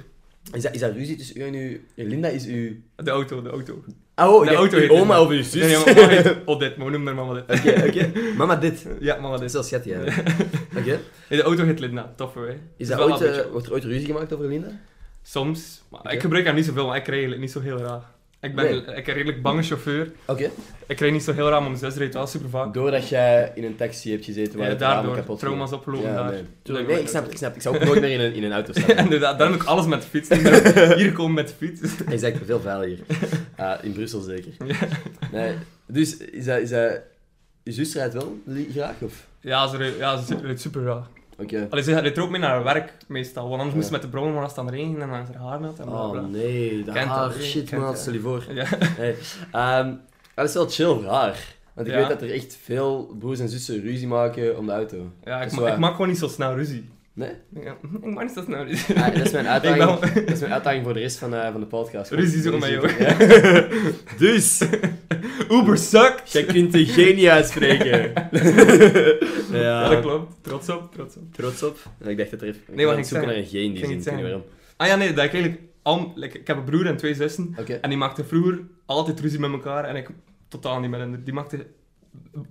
Is dat, is dat ruzie tussen u en u? Linda is uw...
De auto, de auto.
Oh, ik dacht
De auto
uw
heet
oma
Linda.
of uw zus.
Nee, nee, maar mama heet Odette, maar we noemen haar mama dit.
Oké, oké. Mama dit.
Ja, mama
Dat is
dit.
wel schattig, ja. Oké.
Nee, De auto heet Linda, toffer, hè.
Is
dat
dat
wel
ooit,
een
eh,
beetje-
wordt er ooit ruzie gemaakt over Linda?
Soms. Maar
Oké.
Ik gebruik haar niet zoveel, maar ik rij eigenlijk niet zo heel raar. Ik ben,
Nee.
ik ben een redelijk bange chauffeur.
Oké.
Ik rijd niet zo heel raar, maar mijn zus rijdt wel super vaak.
Doordat jij in een taxi hebt gezeten waar
Ja,
het raam
daardoor
kapot
trauma's
ging.
opgelopen
Ja,
daar.
nee. Tuurlijk,
Nee,
nee,
maar-
ik snap het, ik snap het. Ik zou ook nooit meer in een, in een auto stappen.
Inderdaad, daarom doe ik alles met de fiets. Ik ben Hier komen met de fiets.
Hij is eigenlijk veel veiliger. Eh, in Brussel zeker. Nee. Dus, is dat... Is dat... Je zus rijdt wel li- graag, of? Oh,
Ja, ze rijdt ja, ze rijdt super raar.
Oké.
Allee, ze rijdt er ook mee naar haar werk meestal, want anders
Ja.
moest ze met de brommer maar als het aan de regen en aan haar haar nat en bla bla.
Oh nee, dat
Kent dat,
haar,
hè?
shit
Kent
man,
dat.
stel je voor.
Ja.
Hey, ehm, maar dat is wel chill voor haar. Want ik
Ja.
weet dat er echt veel broers en zussen ruzie maken om de auto.
Ja,
Dat
ik,
is
ma-
waar.
ik maak gewoon niet zo snel ruzie.
Nee?
Ja, ik maak niet zo snel ruzie.
Ah, dat, is mijn
Ik ben wel-
uitdaging, dat is mijn uitdaging voor de rest van, eh, van de podcast.
Ruzie zoeken met jou.
Ja. Dus,
Uber sucks!
jij kunt de genie uitspreken.
Ja, dat
ja,
klopt. Trots op, trots op.
trots op. En ik dacht dat er even...
Nee, wat
ik zoeken
ging ik zeggen?
naar een geen die
Ging
zin, ik
iets
weet niet waarom.
zeggen. Ah ja, nee, dat ik eigenlijk... Al, like, ik heb een broer en twee zussen.
Oké.
En die maakten vroeger altijd ruzie met elkaar en ik totaal niet meer in. Die maakten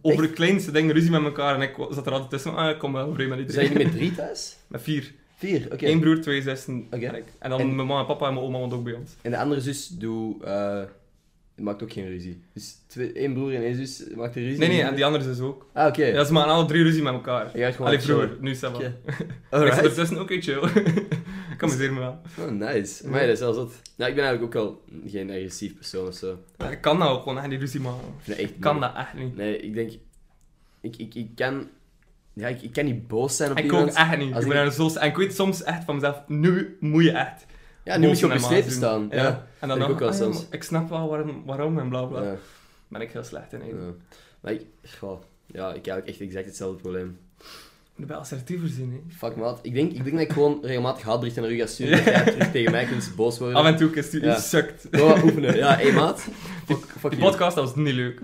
over de kleinste dingen ruzie met elkaar en ik wa- zat er altijd tussen. Ah, ik kom wel vreemd met die
Zijn
twee.
jullie met drie thuis?
Met vier.
Vier, oké.
Eén broer, twee zussen.
Oké.
en ik. En dan
En-
mijn mama en papa en mijn oma want ook bij ons.
En de andere zus doe, eh, maakt ook geen ruzie. Dus twee, één broer en één zus maakt een ruzie.
Nee, nee, en die andere zus ook.
Ah, oké.
Ja, ze maken alle drie ruzie met elkaar.
Je gaat gewoon
Allee,
chillen.
vroeger. Nu, Sam.
Oké.
Ik zat
Alright.
ertussen, oké, chill. ik amuseer me wel.
Oh, nice. Maar ja, dat is wel zot. Nou, ik ben eigenlijk ook wel geen agressief persoon of zo.
Maar ik kan dat ook gewoon, echt die ruzie maken.
Ik vind dat echt
Ik kan
moeilijk.
dat echt niet.
Nee, ik denk... Ik, ik, ik kan... Ja, ik, ik kan niet boos zijn op
Ik ook
iemand.
echt niet.
Als
Ik
ik-
ben er zo... En ik weet soms echt van mezelf, nu moet je echt.
Ja, nu moet je op je
Boven
strepen
normaal
staan.
doen.
Ja. Ja.
En dan
Ik
nog,
ook wel
ah ja,
soms.
maar ik snap wel waarom, waarom en bla bla.
ja.
Ben ik heel slecht in. hè.
Maar ik... goh, ja, ik heb eigenlijk echt exact hetzelfde probleem.
Ik moet wel assertiever zijn. Hè.
Fuck, maat. Ik denk, ik denk dat ik gewoon regelmatig haatberichten naar u ga sturen. Dat jij terug tegen mij kunt boos worden.
Af en toe is het
Ja.
je sukt.
Gewoon wat oefenen. Ja, hé, maat.
Ah, Die,
Fuck, fuck
die
you.
podcast dat was niet leuk.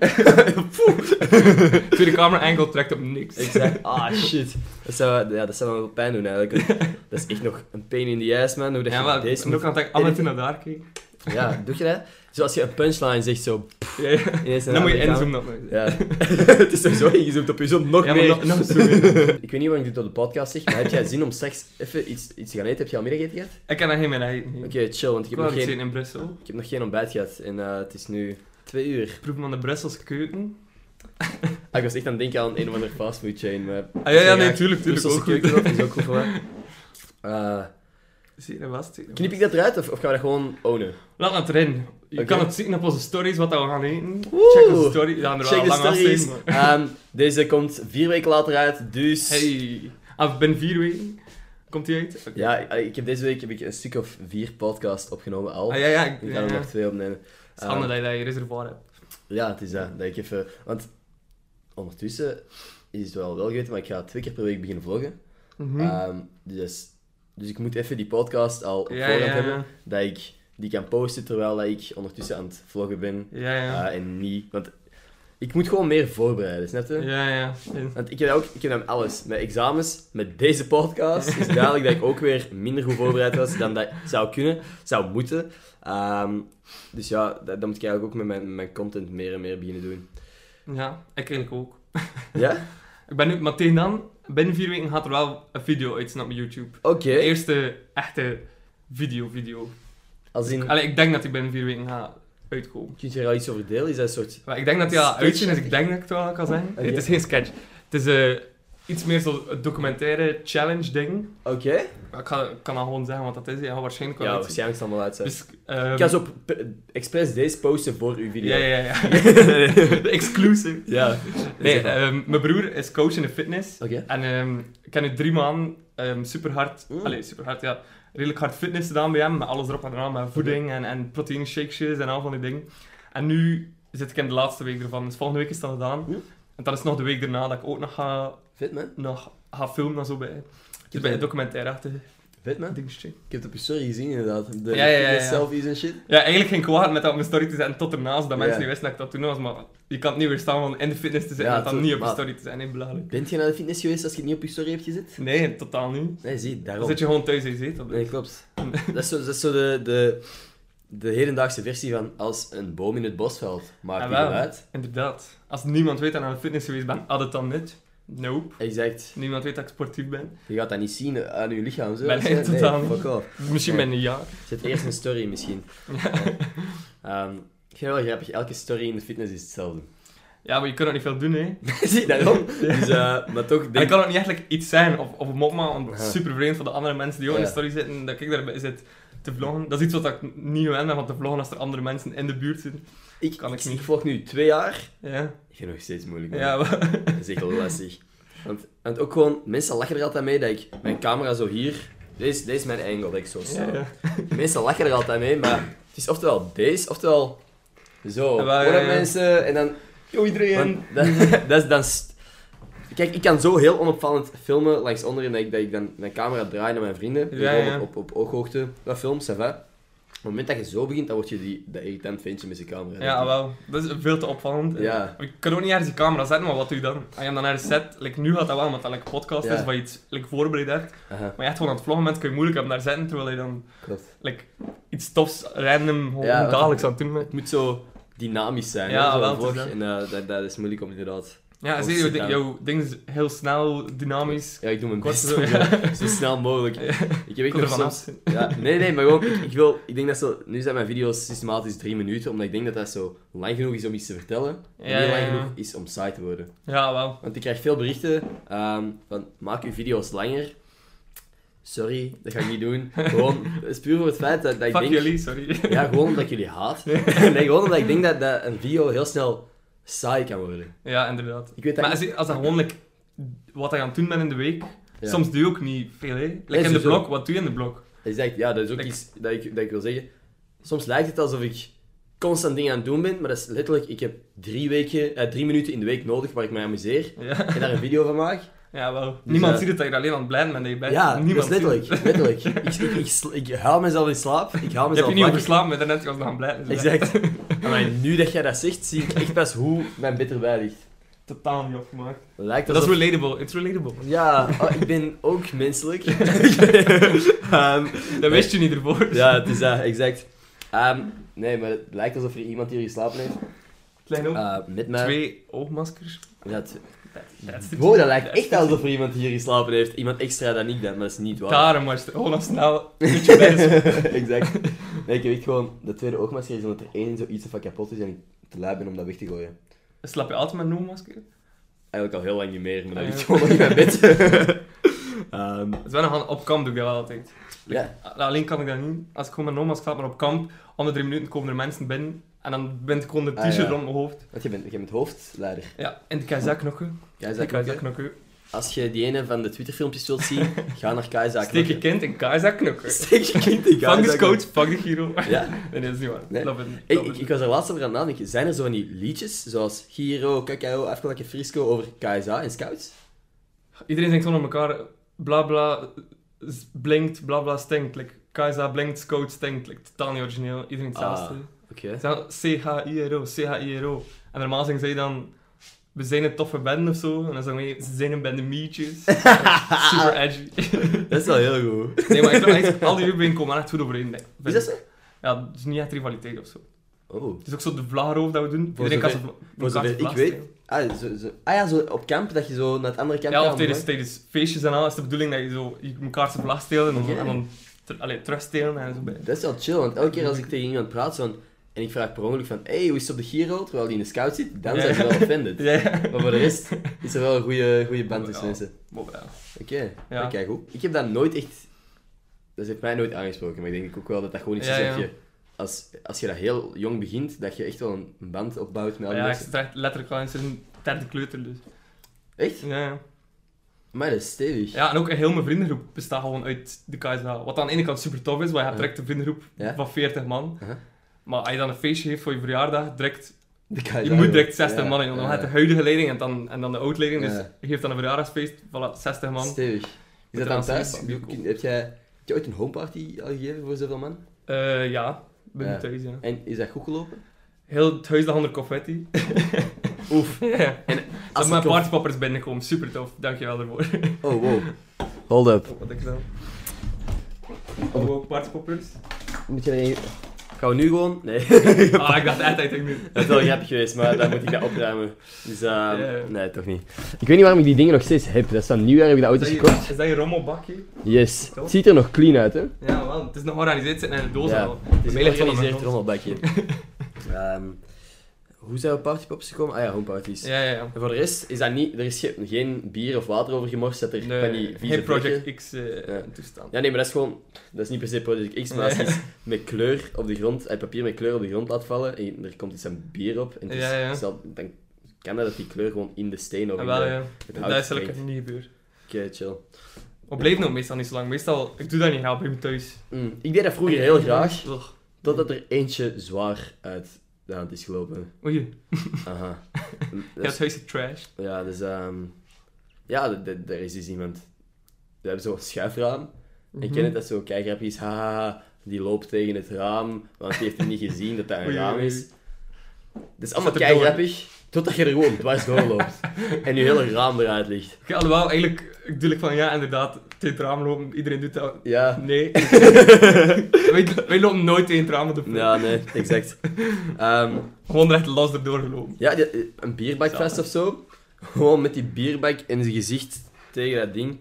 Tweede camera angle trekt op niks.
Exact. Ah, shit. Dat zou, ja, dat zou me wel pijn doen eigenlijk. Dat is echt nog een pain in the ass, man. Hoe dat
Ja,
je
maar
deze
ik ben ook
moet...
aan het af en toe naar daar kijken.
Ja, doe je dat? Zoals je een punchline zegt, zo...
Ja, ja.
Ineens
Dan moet je
Amerikaan.
inzoomen op mij.
Ja. het is sowieso ingezoomd op je zoon, nog
Ja, maar
meer.
nog- nog zoomen.
ik weet niet waarom ik dit op de podcast zeg, maar heb jij zin om straks even iets, iets te gaan eten? Heb je al middageten gehad?
Ik kan dat geen meer eten.
Oké, chill, want ik
Ik
heb,
wil
nog
geen...
geen,
in Brussel.
ik heb nog geen ontbijt gehad. En eh, het is nu twee uur.
Proef me aan de Brusselse keuken.
Ah, ik was echt aan het denken aan een of andere fastfood chain, maar...
Ah ja, ja, nee, tuurlijk, tuurlijk.
Brusselse
Ook goed.
keuken, dat is ook goed voor mij. Eh,
Zeker en vast, zeker en
knip ik
vast.
dat eruit of, of gaan we dat gewoon ownen?
Laat het erin. Je
Oké.
kan het zien op onze stories wat dat we gaan eten.
Oeh.
Check onze stories. Ja, er
Check
wel
de
lang
stories.
afzien, maar-
Ehm, deze komt vier weken later uit, dus...
Hey, af ben vier weken. Komt die uit? Oké.
Ja, eh, ik- ik heb deze week heb ik een stuk of vier podcasts opgenomen al.
Ah, ja, ja. Ik,
Ik
ja,
ga er
ja.
nog twee opnemen. Ehm,
Het is handig dat je dat je reservoir hebt.
Ja, het is eh, dat. Dat ik even... Want ondertussen is het wel wel geweten, maar ik ga twee keer per week beginnen vloggen.
Mhm.
Ehm, dus, dus ik moet even die podcast al op
Ja,
voorhand
ja.
hebben. Dat ik die kan posten terwijl dat ik ondertussen aan het vloggen ben.
Ja, ja.
Ah, en niet... Want ik moet gewoon meer voorbereiden, snap je?
Ja, ja.
Want ik heb dat ook, ik heb dat met alles. Met examens, met deze podcast, is duidelijk dat ik ook weer minder goed voorbereid was dan dat ik zou kunnen, zou moeten. Ehm, dus ja, dat, dat moet ik eigenlijk ook met mijn, met mijn content meer en meer beginnen doen.
Ja, ik eigenlijk ook.
Ja?
Ik ben nu, maar tegen dan, binnen vier weken gaat er wel een video uit staan op YouTube.
Oké.
De eerste echte video, video.
Als in,
Allee, ik denk dat die binnen vier weken gaat uitkomen.
kun je er al iets over delen? Is dat een soort...
Maar ik denk dat die al
Sketch.
uit zijn, dus ik denk dat ik het wel kan zeggen. Nee, het is geen sketch. Het is eh, iets meer zo'n documentaire challenge ding.
Oké.
Ik ga, ik kan dat gewoon zeggen wat dat is. Je gaat waarschijnlijk wel
Ja,
iets-
waarschijnlijk zal het allemaal uit zijn.
Dus, ehm,
ik ga zo pe- expres deze posten voor uw video.
Ja, ja, ja. De exclusive.
Ja.
Nee,
Zeg maar.
ehm, mijn broer is coach in de fitness.
Oké.
En ehm, ik heb nu drie maanden super hard,
Mm.
allee, super hard, ja, redelijk hard fitness gedaan bij hem. Met alles erop en eraan,
Mhm.
met voeding en, en proteïne shakesjes en al van die dingen. En nu zit ik in de laatste week ervan. Dus volgende week is dat gedaan.
Mm.
En dat is nog de week daarna dat ik ook nog ga,
Vet man.
nog ga filmen en zo bij,
heb
dus bij de
dat-
documentaire achter.
Vet man.
Dingetje.
Ik heb het op je story gezien inderdaad. De
Ja, ja, ja,
fitness
ja.
selfies en shit.
Ja, eigenlijk ging ik kwaad met dat op mijn story te zetten tot ernaast, dat mensen
Ja.
niet wisten dat ik dat toen was, maar je kan het niet weerstaan van in de fitness te zijn
Ja,
en dan
toch,
niet op je
maar-
story te zijn, nee, belachelijk.
Bent je naar de fitness geweest als je het niet op je story hebt gezet?
Nee, totaal niet.
Nee, zie,
Dan
daarom.
zit je gewoon thuis in je zetel.
Nee, klopt. dat is zo, dat is zo de, de, de hedendaagse versie van als een boom in het bos valt, maakt niet
Jawel.
uit.
Inderdaad. Als niemand weet dat ik naar de fitness geweest ben, had het dan niet. Nope.
Exact.
Niemand weet dat ik sportief ben.
Je gaat dat niet zien aan je lichaam. Zo.
Nee,
Dat is, hè?
totaal niet.
fuck off.
Misschien
Ja.
met een jaar.
Zet eerst een story misschien. Ja. Ehm, ik vind het wel grappig, elke story in de fitness is hetzelfde.
Ja, maar je kunt ook niet veel doen, hè.
zie, daarom. Dus, eh, maar toch,
En ik
denk,
kan ook niet eigenlijk iets zijn of, of een mop maken, want het is
Ja.
super vreemd voor de andere mensen die ook in de
Ja.
story zitten, dat ik daarbij zit te vloggen. Dat is iets wat ik niet gewend ben van te vloggen als er andere mensen in de buurt zitten.
ik,
kan ik
ik,
niet.
ik volg nu twee jaar.
Ja.
Ik vind het nog steeds moeilijk. man.
Ja, maar-
Dat is echt wel lastig. Want, want ook gewoon, mensen lachen er altijd mee dat ik mijn camera zo hier. Deze, deze is mijn angle, dat ik zo sta.
ja, ja.
Mensen lachen er altijd mee, maar het is oftewel deze, oftewel zo.
Ja, eh, wel, ja,
Hoor dat
ja.
mensen en dan.
Yo, iedereen!
want dat, dat is dan. st- Kijk, ik kan zo heel onopvallend filmen langs onderen dat ik, dat ik dan mijn camera draai naar mijn vrienden.
Ja,
Dus gewoon
ja.
Op, op, op ooghoogte. Dat film, ça va. Op het moment dat je zo begint, dan word je die, dat irritant ventje met zijn camera.
Ja, wel. Dat is veel te opvallend.
Ja.
Ik kan ook niet ergens die camera zetten, maar wat doe je dan? Als je hem dan ergens zet, like, nu gaat dat wel, omdat dat like, een podcast
Ja.
is waar je iets like, voorbereid hebt.
Aha,
Maar je echt gewoon aan het vloggen bent, kun je moeilijk hem daar zetten, terwijl je dan
klopt.
like, iets tofs, random, gewoon
Ja, want-
dagelijks aan het doen bent.
Het moet zo dynamisch zijn.
Ja,
hè, zo'n
wel, het is
vlog.
dat.
En eh, dat, dat is moeilijk om inderdaad.
Ja,
Of
zie je, jouw
sit
ding-
down.
jouw ding is heel snel, dynamisch.
Ja, ik doe mijn
Kort
best
zo,
om eh, zo-
ja.
zo snel mogelijk. Ik heb
Ik
echt
wil
nog
ervan
soms
af.
Ja, nee, nee, maar gewoon, ik, ik wil, ik denk dat zo, nu zijn mijn video's systematisch drie minuten, omdat ik denk dat dat zo lang genoeg is om iets te vertellen, en
Ja,
niet
ja,
lang
ja.
genoeg is om saai te worden.
Ja, wel.
Want ik krijg veel berichten ehm, van, maak uw video's langer. Sorry, dat ga ik niet doen. Gewoon, het is puur voor het feit dat, dat ik
Fuck
denk...
jullie, sorry.
Ja, gewoon omdat ik jullie haat. nee, gewoon omdat ik denk dat, dat een video heel snel saai kan worden.
Ja, inderdaad.
Ik weet dat
Maar
niet.
als, je- als dat gewoon like, wat je aan het doen bent in de week,
Ja.
soms doe je ook niet veel, hè. Like,
Nee,
in de
sowieso.
blok, wat doe je in de blok?
Dat is echt- ja, dat is ook
Ik-
iets dat ik, dat ik wil zeggen. Soms lijkt het alsof ik constant dingen aan het doen ben, maar dat is letterlijk, ik heb drie, weken, eh, drie minuten in de week nodig waar ik mij amuseer
Ja.
en daar een video van maak.
Ja, wel. Niemand
eh,
ziet het dat je er alleen aan het blijven bent dat je bent.
ja,
Eh, Niemand
dat is letterlijk.
ziet het.
letterlijk. Ik, ik, ik, sl- ik haal mezelf in slaap, ik haal
Je hebt
mezelf
je niet
wakker.
overslapen, maar daarnet was nog aan het blijven. dus dat-
Exact. Maar nu dat jij dat zegt, zie ik echt pas hoe mijn bed erbij ligt.
Totaal niet opgemaakt.
Het Lijkt
Dat is
alsof-
relatable. It's relatable.
Ja, oh, ik ben ook menselijk. Ehm,
Dat wist je niet ervoor.
ja, het is dat, exact. Ehm, nee, maar het lijkt alsof er iemand hier geslapen heeft.
Klein oog.
Eh, met mij.
Twee oogmaskers.
Ja, t-
That's the-
Wow, dat lijkt
that's
echt
the-
alsof er iemand hier geslapen heeft. Iemand extra dan ik dan, maar dat is niet waar.
Daarom was het gewoon al snel. Zit je bij de-
exact. Nee, ik heb echt gewoon dat tweede oogmasker is omdat er één zoiets van kapot is en ik te lui ben om dat weg te gooien.
Slaap je altijd met een oogmasker?
Eigenlijk al heel lang niet meer, maar dat
Ah,
ligt
ja.
gewoon nog in mijn bed. Ehm,
Het is wel een hand- op kamp doe ik dat wel altijd. Ah, nou,
ja,
Alleen kan ik dat niet. Als ik gewoon met een oogmasker slaap, maar op kamp, om de drie minuten komen er mensen binnen. En dan ben ik gewoon een
Ah, ja.
t-shirt rond mijn hoofd.
want je bent, je bent hoofdleider.
Ja, en de keizer knokken.
Kaiza
De
Knokke.
keizer knokken.
Als je die ene van de Twitterfilmpjes wilt zien, ga naar Kaiza
Steek je
Knokke.
kind in keizer knokken.
Steek je kind in
Fuck
Kaiza
de coach, fuck de Giro.
Knokke. Ja,
Nee, dat is niet waar.
Nee.
Love it.
Ik,
Love
ik,
it.
ik was er laatst over aan het nadenken. Zijn er zo van die liedjes, zoals Giro, Cacao, Afgelakken Frisco, over KSA en Scouts?
Iedereen zingt onder elkaar, bla bla, z- blinkt, bla bla, stinkt. Like, Kaiza blinkt, scout stinkt. Like, totaal niet origineel, iedereen
Ah.
hetzelfde.
Oké.
Het zijn al C-H-I-R-O, C-H-I-R-O. En normaal zingen zij dan, we zijn een toffe band of zo. En dan zeggen we, ze zijn een band de mietjes. Super edgy.
Dat is wel heel goed.
nee, maar ik vind echt, al die uren komen er echt goed overeen. denk ik.
Is dat zo?
Ja, het is niet echt rivaliteit of zo.
Oh.
Het is ook zo de vlageroof dat we doen.
Voor
Iedereen kan
zover-
zo
voor
elkaar
zover
zo
ik weet,
blazen.
Ah, zo, zo. ah ja, zo op kamp, dat je zo naar het andere kamp
Ja,
gaat,
of tijdens,
maar-
tijdens feestjes en al is de bedoeling dat je zo je elkaar zijn vlag steelt en, dan-
Oké.
en dan ter, allee, terugstelen en zo. bij-
Dat is wel chill, want elke keer als ik tegen iemand praat zo'n- en ik vraag per ongeluk van hey, hoe is het op de Giro, terwijl die in de scout zit, dan
Ja.
zijn ze wel offended.
Ja, ja.
Maar voor de rest is er wel een goede, goede band
Ja.
tussen mensen.
Maar ja.
Oké,
Ja.
oké, goed. Ik heb dat nooit echt... Dat heeft mij nooit aangesproken, maar ik denk ook wel dat dat gewoon iets
Ja,
is dat
ja.
je... Als, als je dat heel jong begint, dat je echt wel een band opbouwt met al die
Ja, ik
mensen.
zit er echt letterlijk al in zijn derde kleuter dus.
Echt?
Ja, ja.
Maar dat is stevig.
ja, en ook heel mijn vriendengroep bestaat gewoon uit de KSH. Wat aan de ene kant super tof is, want je hebt
Ja.
direct een vriendengroep
Ja.
van 40 man.
Uh-huh.
Maar als je dan een feestje heeft voor je verjaardag, direct,
De guys
je
are-
moet direct 60
ja,
man in. want Dan
ja.
gaat de huidige leiding en dan, en dan de oud-leiding. Dus
Ja.
je geeft dan een verjaardagsfeest, voilà, 60 man.
Stevig. Is
Met
dat dan
de
thuis?
aansluiting.
Heb jij... je ooit een homeparty al gegeven voor zoveel man?
Eh, ja, ben
Ja.
ik thuis, ja.
En is dat goed gelopen?
Heel het huis lag onder confetti.
Oef.
Ja.
En
Dat
als
mijn
het op-
partypoppers binnenkomen, super tof. Dankjewel daarvoor.
Oh, wow. Hold up.
Oh, Wat ik dan? Oh, wow, partypoppers.
Moet je er een... Gaan we nu gewoon? Nee.
Ah, ik dacht echt, ik nu.
Dat is wel grappig geweest, maar dan moet ik dat opruimen. Dus, eh,
Ja.
nee, toch niet. Ik weet niet waarom ik die dingen nog steeds heb. Dat is van nieuwjaar heb ik dat ooit
Is
eens
dat je-
gekocht.
is dat je rommelbakje?
Yes.
Toch?
Het ziet er nog clean uit, hè?
Ja, wel. Het is nog georganiseerd zitten in de doos
Ja,
al.
Het is
Bij
een
mij ligt het
georganiseerd
allemaal
rommelbakje. Ehm, hoe zijn we partypops gekomen? Ah ja, homeparties.
Ja, ja, ja.
En voor de rest is dat niet... Er is ge- geen bier of water over gemorst. Dat er van die vieze
geen
vlekken-
Project X eh,
Ja.
toestand.
Ja, nee, maar dat is gewoon... Dat is niet per se Project X, maar als je iets met kleur op de grond... eh, papier met kleur op de grond laat vallen en er komt iets aan bier op en het is,
Ja, ja.
stel- dan kan dat dat die kleur gewoon in de steen of
Ah,
in
wel,
de-
ja.
het hout
Dat is eigenlijk
springt.
niet gebeurd.
Oké, chill.
Maar bleef nou meestal niet zo lang. Meestal, ik doe dat niet graag bij me thuis.
Mm, ik deed dat vroeger heel graag,
Ugh.
totdat er eentje zwaar uit de hand is gelopen.
Oei,
Aha. Mm,
ja,
dat is-
het huis is trash.
Ja, dus... ehm ja, d- d- er is dus iemand... We hebben zo'n schuifraam. Ik ken het dat zo keigrapje is. Haha, die loopt tegen het raam, want die heeft hem niet gezien dat dat een
Oei,
raam
oei,
is.
oei.
Dat is allemaal
Zet hem door.
keigrappig, totdat je er gewoon dwars door loopt. en je hele raam eruit ligt.
Oké, alhoewel, eigenlijk, ik doe ik van ja, inderdaad, tegen het raam lopen, iedereen doet dat.
Ja,
Nee. wij, wij lopen nooit tegen het raam op de vloer.
ja nee, exact. Ehm,
Gewoon er echt los erdoor gelopen.
Ja, die- een bierbak vast of zo. Gewoon met die bierbak in zijn gezicht tegen dat ding.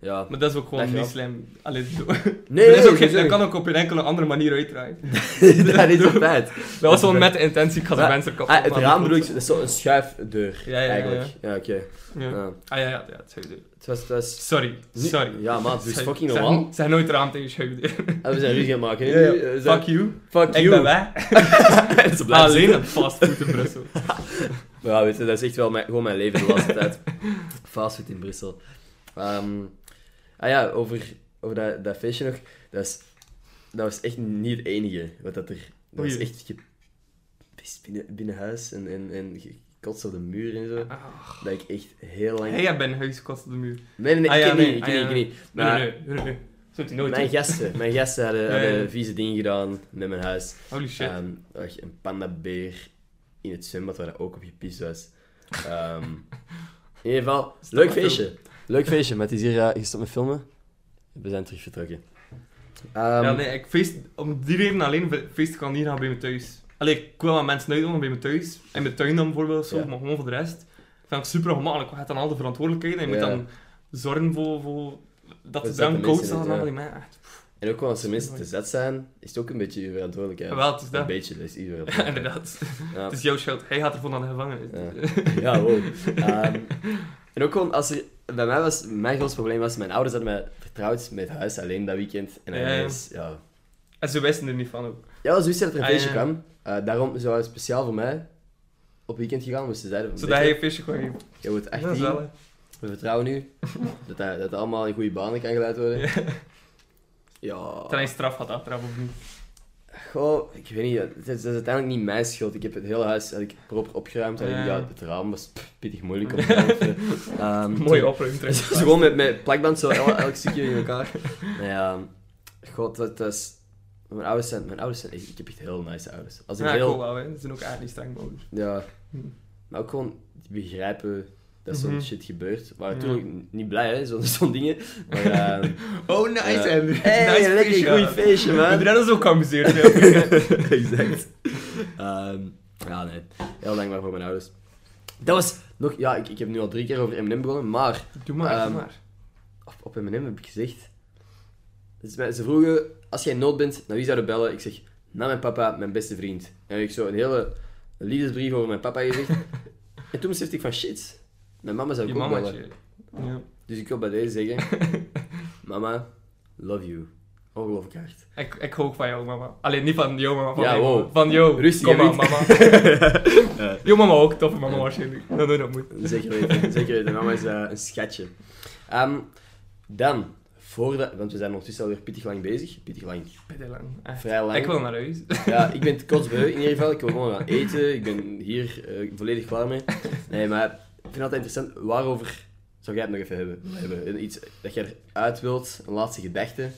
Ja.
Maar dat is ook gewoon
Dat is
niet
wel-
slim. Allee, zo.
Nee,
dat, is ook geen-
sowieso
dat kan ook op een enkele andere manier uitdraaien.
niet. dat is een feit.
Dat was gewoon met de intentie, ik ga de
Maar-
mensen kapot
Ah, het
maken.
raam bedoel ik, dat is zo'n schuifdeur.
Ja, ja, ja,
Eigenlijk. Ja, oké.
Ja.
Ja.
Ah ja, ja, ja, het schuifdeur.
Het was... Het was...
Sorry, sorry.
Ja, maat, dus
Zeg-
fucking
zeg-
normaal.
Zeg nooit raam tegen schuifdeur.
En Ah, we zijn ruzie gaan maken. hè,
Ja, ja.
nu. Eh, we zijn-
Fuck you.
Fuck
Ik
you.
ben weg. Ah,
En ze blijft
Alleen
zitten.
een fastfood in Brussel.
Ja, weet je, dat is echt wel mijn, gewoon mijn leven de laatste tijd. Fastfood in Brussel. Ehm, ah ja, over, over dat, dat feestje nog. Dat, is, dat was echt niet het enige. Wat dat er... Dat was
Oei.
echt gepist binnen, binnen huis en, en, en gekotst op de muur en zo. Dat ik echt heel lang...
Hey, jij bent huiskost op de muur.
Nee, nee, nee,
Ah
ik
ja,
ken
nee,
niet, ik
ah
ken niet,
ja.
ik ken niet.
Nee,
Maar
nee, nee, nee. Zo doet hij nooit.
mijn
hè.
gasten, mijn gasten hadden,
Ja,
hadden
ja.
vieze dingen gedaan met mijn huis.
Holy shit.
Ehm, er lag een pandabeer in het zwembad waar dat ook op gepist was. Ehm, in ieder geval,
Stop
leuk
met
feestje. Leuk feestje, maar het is hier eh, gestopt met filmen. We zijn terug vertrokken. Ehm,
ja, nee, ik feest, om die reden alleen feest kan niet gaan bij me thuis. Allee, ik wil wel mensen uitnodigen bij me thuis. In mijn tuin dan bijvoorbeeld, zo,
Ja.
maar gewoon voor de rest. Ik vind het super gemakkelijk. Je hebt dan al de verantwoordelijkheid en je
Ja.
moet dan zorgen voor, voor dat de
dat
drank
de
koud
mensen
staat en
het,
al
ja.
die mensen. Echt,
En ook wel als er mensen te zet zijn, is het ook een beetje je verantwoordelijkheid.
Wel, het is
Een
dat.
beetje, dat is iedere
Ja,
verantwoordelijkheid.
inderdaad.
Ja.
Het is jouw schuld. Hij gaat ervoor naar de gevangenis.
Ja, wow. Ehm, en ook gewoon, als er, bij mij was, mijn grootste probleem was, mijn ouders hadden mij vertrouwd met huis alleen dat weekend. En
Ja, ja.
dan is, ja.
En ze wisten er niet van ook.
Ja, zo wist je dat er een
Ah,
feestje
ja.
kwam. Eh, daarom zou hij speciaal voor mij op weekend gegaan, dus ze zeiden van,
Zodat
weet
hij
je,
een feestje kon geven.
je wordt
Dat is
18,
wel, hè.
we vertrouwen nu dat hij, dat hij allemaal in goede banen kan geleid worden. Ja.
Terwijl hij straf had achteraf of niet.
Goh, ik weet niet, het is, het is uiteindelijk niet mijn schuld. Ik heb het hele huis had ik proper opgeruimd. En
Ja.
ja, het raam was pff, pittig moeilijk om te ruimen. Ehm,
Mooi opruimtrek.
Dus gewoon met, met plakband zo el- elk stukje in elkaar. Nou ja, god, dat is... Mijn ouders zijn... Mijn ouders zijn echt- ik heb echt heel nice ouders. Als ik
Ja,
heel...
cool wel, hè. Ze zijn ook eigenlijk niet streng mogelijk.
Ja.
Hm.
Maar ook gewoon die begrijpen dat zo'n
Mhm.
shit gebeurt. Maar
Ja.
natuurlijk niet blij, hè, zo'n zo'n dingen. Maar ehm,
Oh, nice,
Ja.
Andrew.
hey,
nice
lekker
feestje.
goeie feestje,
We hebben
man.
dat dus ook geamuseerd. hè.
exact. Ehm, ja, nee. Heel dankbaar voor mijn ouders. Dat was nog... Ja, ik, ik heb nu al drie keer over M&M begonnen, maar...
Doe maar,
Ehm,
doe maar.
op, op M&M heb ik gezegd... Dus mij- ze vroegen, als jij in nood bent, naar wie zou je bellen? Ik zeg, naar mijn papa, mijn beste vriend. En heb ik zo een hele liefdesbrief over mijn papa gezegd. en toen besefte ik van, shit, mijn mama zou
Je
ik ook bellen.
mamatje. Ja.
Dus ik wil bij deze zeggen, mama, love you. Ongelooflijk hard.
Ik, ik hou ook van jou, mama. Alleen niet van jou, mama. Van
Ja,
mij,
wow.
mama. Van jou.
Rustig,
Kom
hè,
aan, mama. Jou mama ook. Toffe mama waarschijnlijk. Dat doe dat moet.
Zeker weten, zeker weten. Mama is eh, een schatje. Ehm, dan, voordat... Want we zijn ondertussen alweer pittig lang bezig. Pittig lang.
Bitte lang. Echt.
Vrij lang.
Ik wil naar huis.
Ja, ik ben het kotsbeu in ieder geval. Ik wil gewoon gaan eten. Ik ben hier eh, volledig klaar mee. Nee, maar ik vind het altijd interessant. Waarover zou jij het nog even hebben? hebben? Iets dat jij eruit wilt, een laatste gedachte.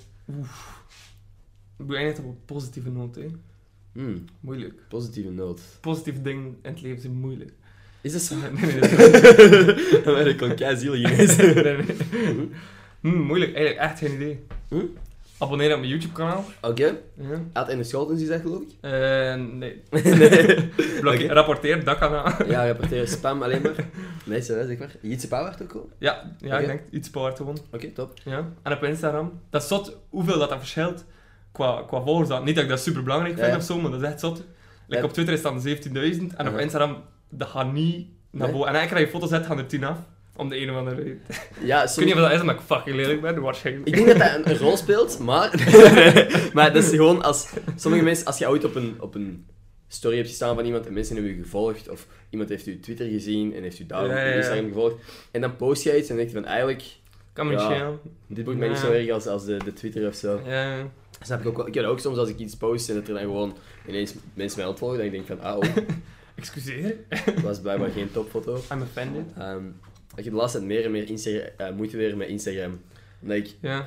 Ik eindigt op een positieve noot, hè.
Hmm,
Moeilijk.
positieve noot.
Positieve dingen in het leven zijn moeilijk.
Is dat zo?
Nee, nee, nee.
Dan ben ik al keizielig ineens.
nee, nee. Hm, moeilijk, eigenlijk echt geen idee.
Hm?
Abonneer op mijn YouTube-kanaal.
Oké,
Ja.
had in de Scholtens gezegd, geloof ik.
Eh, nee.
Nee.
Blokkeer,
Oké.
Rapporteer, dat kan aan.
Ja, rapporteren spam alleen maar. Nee, serieus, zeg maar. Jitse Pauw werd ook cool. Oké,
Ja, ja
Oké.
ik denk iets power gewoon.
top.
Ja. En op Instagram. Dat is zot hoeveel dat, dat verschilt qua, qua volgers. Dat- Niet dat ik dat super belangrijk
Ja,
vind
ja.
of zo, maar dat is echt zot. Like,
Ja.
Op Twitter is dat 17.000 en op
Ja.
Instagram dat gaat niet naar
Nee?
boven. En eigenlijk krijg je foto's uit, gaan er 10 af. Om de een of andere reden. Ik
Ja,
weet
soms...
niet of dat is omdat ik fucking lelijk ben, waarschijnlijk.
Ik denk dat dat een, een rol speelt, maar... maar dat is gewoon als... Sommige mensen, als je ooit op een, op een story hebt gestaan van iemand en mensen hebben je gevolgd, of iemand heeft je Twitter gezien en heeft je daarom
Ja, ja,
op
ja.
Instagram gevolgd, en dan post je iets en denk je van, eigenlijk,
Kan me
Ja.
schelen.
dit boekt mij niet
Ja.
zo erg als, als de, de Twitter of zo.
Ja.
Dat snap ik ook wel. Ik heb dat ook soms als ik iets post en dat er dan gewoon ineens mensen mij ontvolgen, dan denk ik van, ah, oh,
Excuseer,
dat was blijkbaar geen topfoto.
I'm offended.
Ehm, ik heb de laatste tijd meer en meer Instagram, eh, moeite weer met Instagram. Omdat ik,
Ja.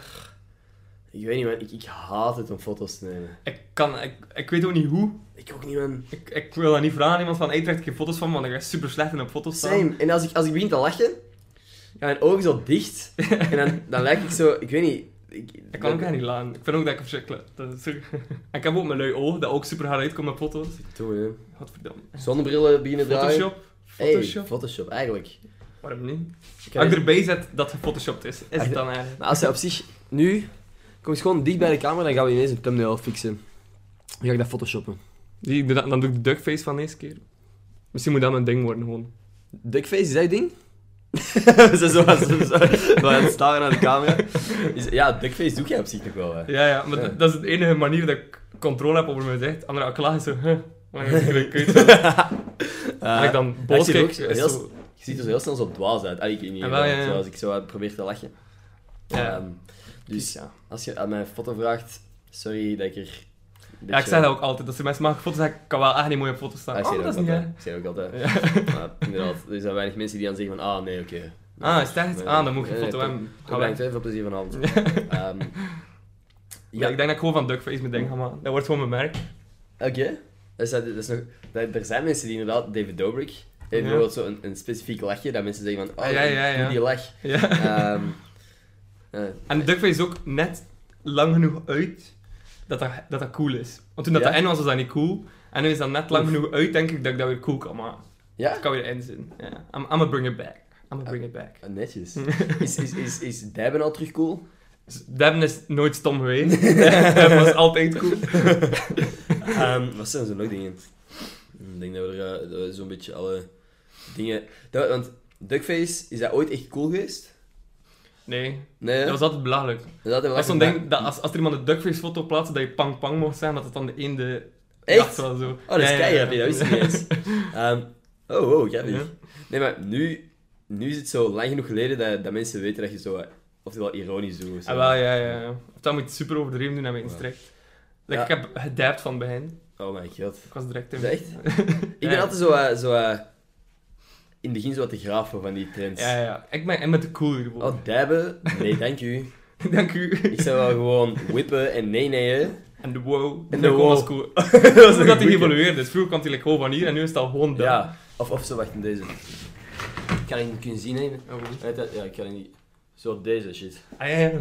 ik weet niet man, ik, ik haat het om foto's te nemen.
Ik kan, ik, ik weet ook niet hoe.
Ik ook niet man.
Ik, ik wil dat niet vragen aan iemand van, hey, trek ik geen foto's van, want ik ben super slecht in op foto's staan.
Same. En als ik, als ik begin te lachen, gaan mijn ogen zo dicht. En dan, dan lijk ik zo, ik weet niet. Ik,
Ik kan ook echt niet laten. Ik vind ook dat ik verschrikkelijk. Dat is zo- En ik heb ook mijn lui oog, dat ook super hard uitkomt met foto's.
Toen, hè.
Godverdamme.
Zonnebrillen beginnen draaien.
Photoshop? Photoshop?
Hey, Photoshop, eigenlijk.
Waarom niet?
Ik kan
Als ik
niet-
erbij zet dat het photoshopt is, is
Echt?
het dan eigenlijk.
Maar als hij op zich nu... Kom eens gewoon dicht bij de camera, dan gaan we ineens een thumbnail fixen. Dan ga ik dat photoshoppen.
Die, ik doe dat- dan doe ik de duckface van deze keer. Misschien moet dat mijn ding worden gewoon.
Duckface, is dat je ding? Ze zijn zo aan zo- zo- zo aan het staren naar de camera. Is- Ja, duckface doe jij op zich nog wel. Hè.
Ja, ja, maar
Ja.
dat- dat is de enige manier dat ik controle heb over mijn gezicht. Andere klaag is zo, huh. Maar dan is het kut. En
Eh,
ik dan
ik
boos
Ah, zie het
kijk,
ook
is
heel-
zo...
Je ziet er zo heel snel zo dwaas uit. Ah, ik weet niet,
Ah, wel, ja, ja.
zoals ik zo probeer te lachen.
Ja.
Ehm, dus
ja.
als je aan mijn foto vraagt, sorry dat ik er... een
Ja, ik
beetje-
zeg dat ook altijd. Als de mensen maken foto's, zeggen, ik kan wel echt niet mooi op foto's staan.
Ah, ik
oh,
zeg
dat
dat
is
ook
niet
altijd.
hè.
Ik zeg dat ook altijd.
Ja.
Maar inderdaad, er zijn weinig mensen die dan zeggen van, ah, nee, oké.
Ah, is het echt?
Nee,
Ah, dan moet ik een
nee,
foto
nee,
hebben.
Tot
Ga weg.
bedankt, hè, veel plezier vanavond. Ehm,
Ja,
ja,
ik denk dat ik gewoon van Duckface mijn ding ga maken. Dat wordt gewoon mijn merk.
oké. Dus dat, dat is nog... dat- er zijn mensen die inderdaad, David Dobrik, heeft bijvoorbeeld zo een, een specifiek lachje, dat mensen zeggen van, oh,
Ah, ja, ja, ja.
doe die lach.
Ja.
Ehm, eh,
En Duckface is ook net lang genoeg uit dat dat, dat, dat cool is. Want toen dat
Ja.
dat in was, was dat niet cool. En nu is dat net lang
Oef.
genoeg uit, denk ik, dat ik dat weer cool kan maken.
ja?
Ik kan weer in zijn. Ja. I'm, I'ma bring it back. I'ma bring it back.
Ah, Netjes. Is, is, is, is Dabben al terug cool?
Dus Devin is nooit stom geweest. Devin was altijd cool.
Ehm, wat zijn zo nog dingen? Ik denk dat we er eh, dat we zo'n beetje alle dingen... Dat, want Duckface, is dat ooit echt cool geweest?
Nee,
Nee,
dat was altijd belachelijk.
Dat hadden we
Dat is zo'n
lachen-
ding, dat als, als er iemand een Duckface foto plaatst, dat je pang pang mocht zijn, dat het dan de ene de...
Echt?
Ja, zo, zo.
Oh, dat is
Ja, ja,
keihard,
ja.
dat wist ik niet eens. Ehm, oh, wow, grappig.
Ja.
Nee, maar nu, nu is het zo lang genoeg geleden dat, dat mensen weten dat je zo... eh, Oftewel ironisch doet. of zo.
Ah, wel, ja, ja. ja. Of dat moet je het super overdreven doen en met instrekt.
Ja.
Like, Ik heb gedapt van bij hen.
Oh my god.
Ik was direct in.
Is dat echt? Ik ben
Ja.
altijd zo... eh, zo eh, in het begin zo wat te graven van die trends.
Ja, ja. Ik ben en met de cool gewoon.
Oh, Dabben? Nee, dank u.
Dank u.
Ik zou wel gewoon whippen en nee nee.
En de wow.
En
En
de
de
wow.
was cool. dat is dat hij
goeie.
geëvolueerd is. Vroeger kwam hij like, gewoon van hier en nu is dat gewoon daar.
Ja. Of, of zo, wacht, in deze. Kan ik niet kunnen zien, hè? Weet dat- Ja, ik kan het niet. Zo deze shit.
Oh, Ah, ja, ja.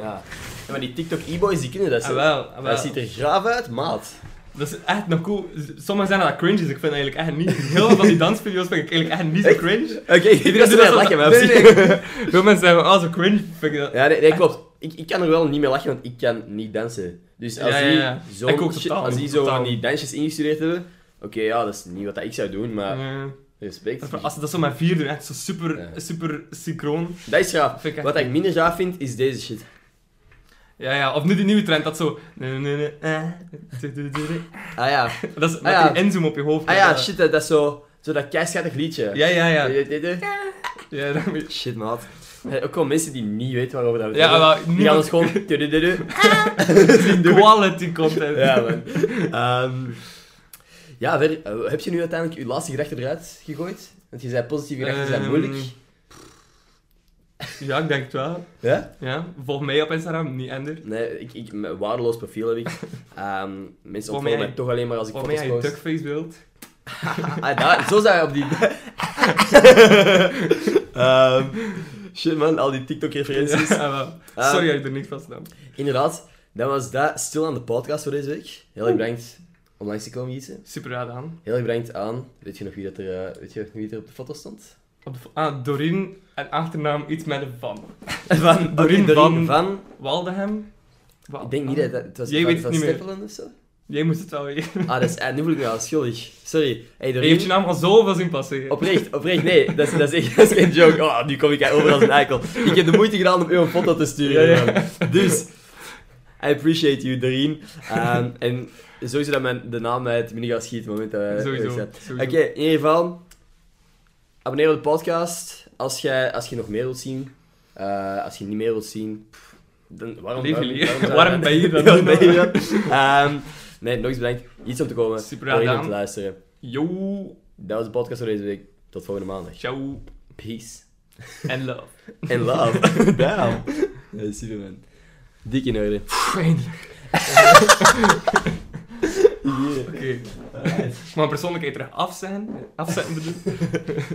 Ja. En maar die TikTok e-boys, die kunnen dat
Ah,
zo.
wel, ah, wel.
Dat ziet er graaf uit, maat.
Dat is echt nog cool. Sommigen zijn dat cringe, dus ik vind eigenlijk echt niet... Heel veel van die dansvideo's vind ik eigenlijk echt niet zo
Echt?
cringe.
Oké, iedereen doet
Dus
dat
is
lachen,
wel-
maar
nee, nee, nee. Veel mensen zeggen, oh, zo cringe vind ik dat.
Ja, nee, nee, klopt. Ik, ik kan er wel niet mee lachen, want ik kan niet dansen. Dus als
Ja, ja, ja.
die
Ik ook
zo'n shit-
totaal
als
niet,
die zo van
totaal
die
niet.
dansjes ingestudeerd hebben, oké, ja, dat is niet wat ik zou doen, maar
Ja.
respect.
Dat- Als ze dat zo met vier doen, echt zo super,
Ja.
super synchroon.
Dat is
Dat
graaf.
vind ik echt
Wat ik minder gaaf vind, is deze shit.
Ja, ja, of nu die nieuwe trend, dat zo... Nee, nee, nee, eh, du- du- du- du.
Ah ja.
Dat is met
ja.
die inzoom op je hoofd.
Ah ja,
Dat-
shit, dat, dat is zo, zo dat keischattig liedje.
Ja, ja, ja.
Weet je dit, hè?
Ja, dat moet je-
Shit, maat. Eh, Ook wel mensen die niet weten waarover dat we het
ja
hebben.
maar
Die gaan ons
niemand-
gewoon... tudududu.
quality content.
ja, man. Ehm, ja, verder, eh, heb je nu Ehm, uiteindelijk je laatste gedachte eruit gegooid? Want je zei positieve gedachten zijn
Ehm,
moeilijk.
Ja, ik denk het wel.
Ja?
Ja. Volg mij op Instagram, niet Ender.
Nee, ik, ik, mijn waardeloos profiel heb ik. Ehm, mensen
Voor mij-
ontvolgen mij toch alleen maar als ik
Volg mij
foto's
als je
post.
duckface wilt.
Ah, daar, zo zijn we op die... Ehm, shit man, al die TikTok-referenties.
Ja, wel.
Ehm,
Sorry dat je er niet vast nam.
Inderdaad, dat was dat. Stil aan de podcast voor deze week. Heel erg bedankt om langs te komen giezen.
Super raad aan.
Heel erg bedankt aan... Weet je nog wie, dat er, eh, weet je nog wie er op de foto stond?
Op de fo- ah, Dorien en achternaam iets met een van.
Van
Doreen
Doreen
van-
van...
Waldehem? Wa-
Ik denk niet dat dat... Het was
Jij
van,
weet het
van
niet meer.
Stippelen of zo?
Jij moest het wel weer.
Ah, dat is, eh, nu voel ik me al schuldig. Sorry. Hey,
Je
Doreen.
heeft je naam al zoveel zien passeren.
Oprecht, oprecht, nee, dat is, dat, is echt, dat is geen joke. Oh, nu kom ik over als een eikel. Ik heb de moeite gedaan om u een foto te sturen.
Ja, ja.
man. Dus, I appreciate you, Doreen. Ehm, en sowieso dat mijn, de naam uit binnen gaat schieten, op het moment dat we
Sowieso.
weg zijn. Oké,
sowieso.
in ieder geval, abonneer op de podcast als jij als je nog meer wilt zien. Eh, als je niet meer wilt zien, pff, dan waarom,
Leef
waarom,
je leven.
waarom
Waarom ben je hier dan?
Waarom ben je hier dan? Ehm, nee, nog eens bedankt. Iets om te komen.
Super
Doreen, om
gedaan.
te luisteren.
Yo,
Dat was de podcast voor deze week. Tot volgende maandag.
ciao
Peace.
en love.
En love. Damn. Ja, Superman. Dik in orde.
Eindelijk. Oké. Maar persoonlijkheid terug afzetten. Afzetten bedoel ik.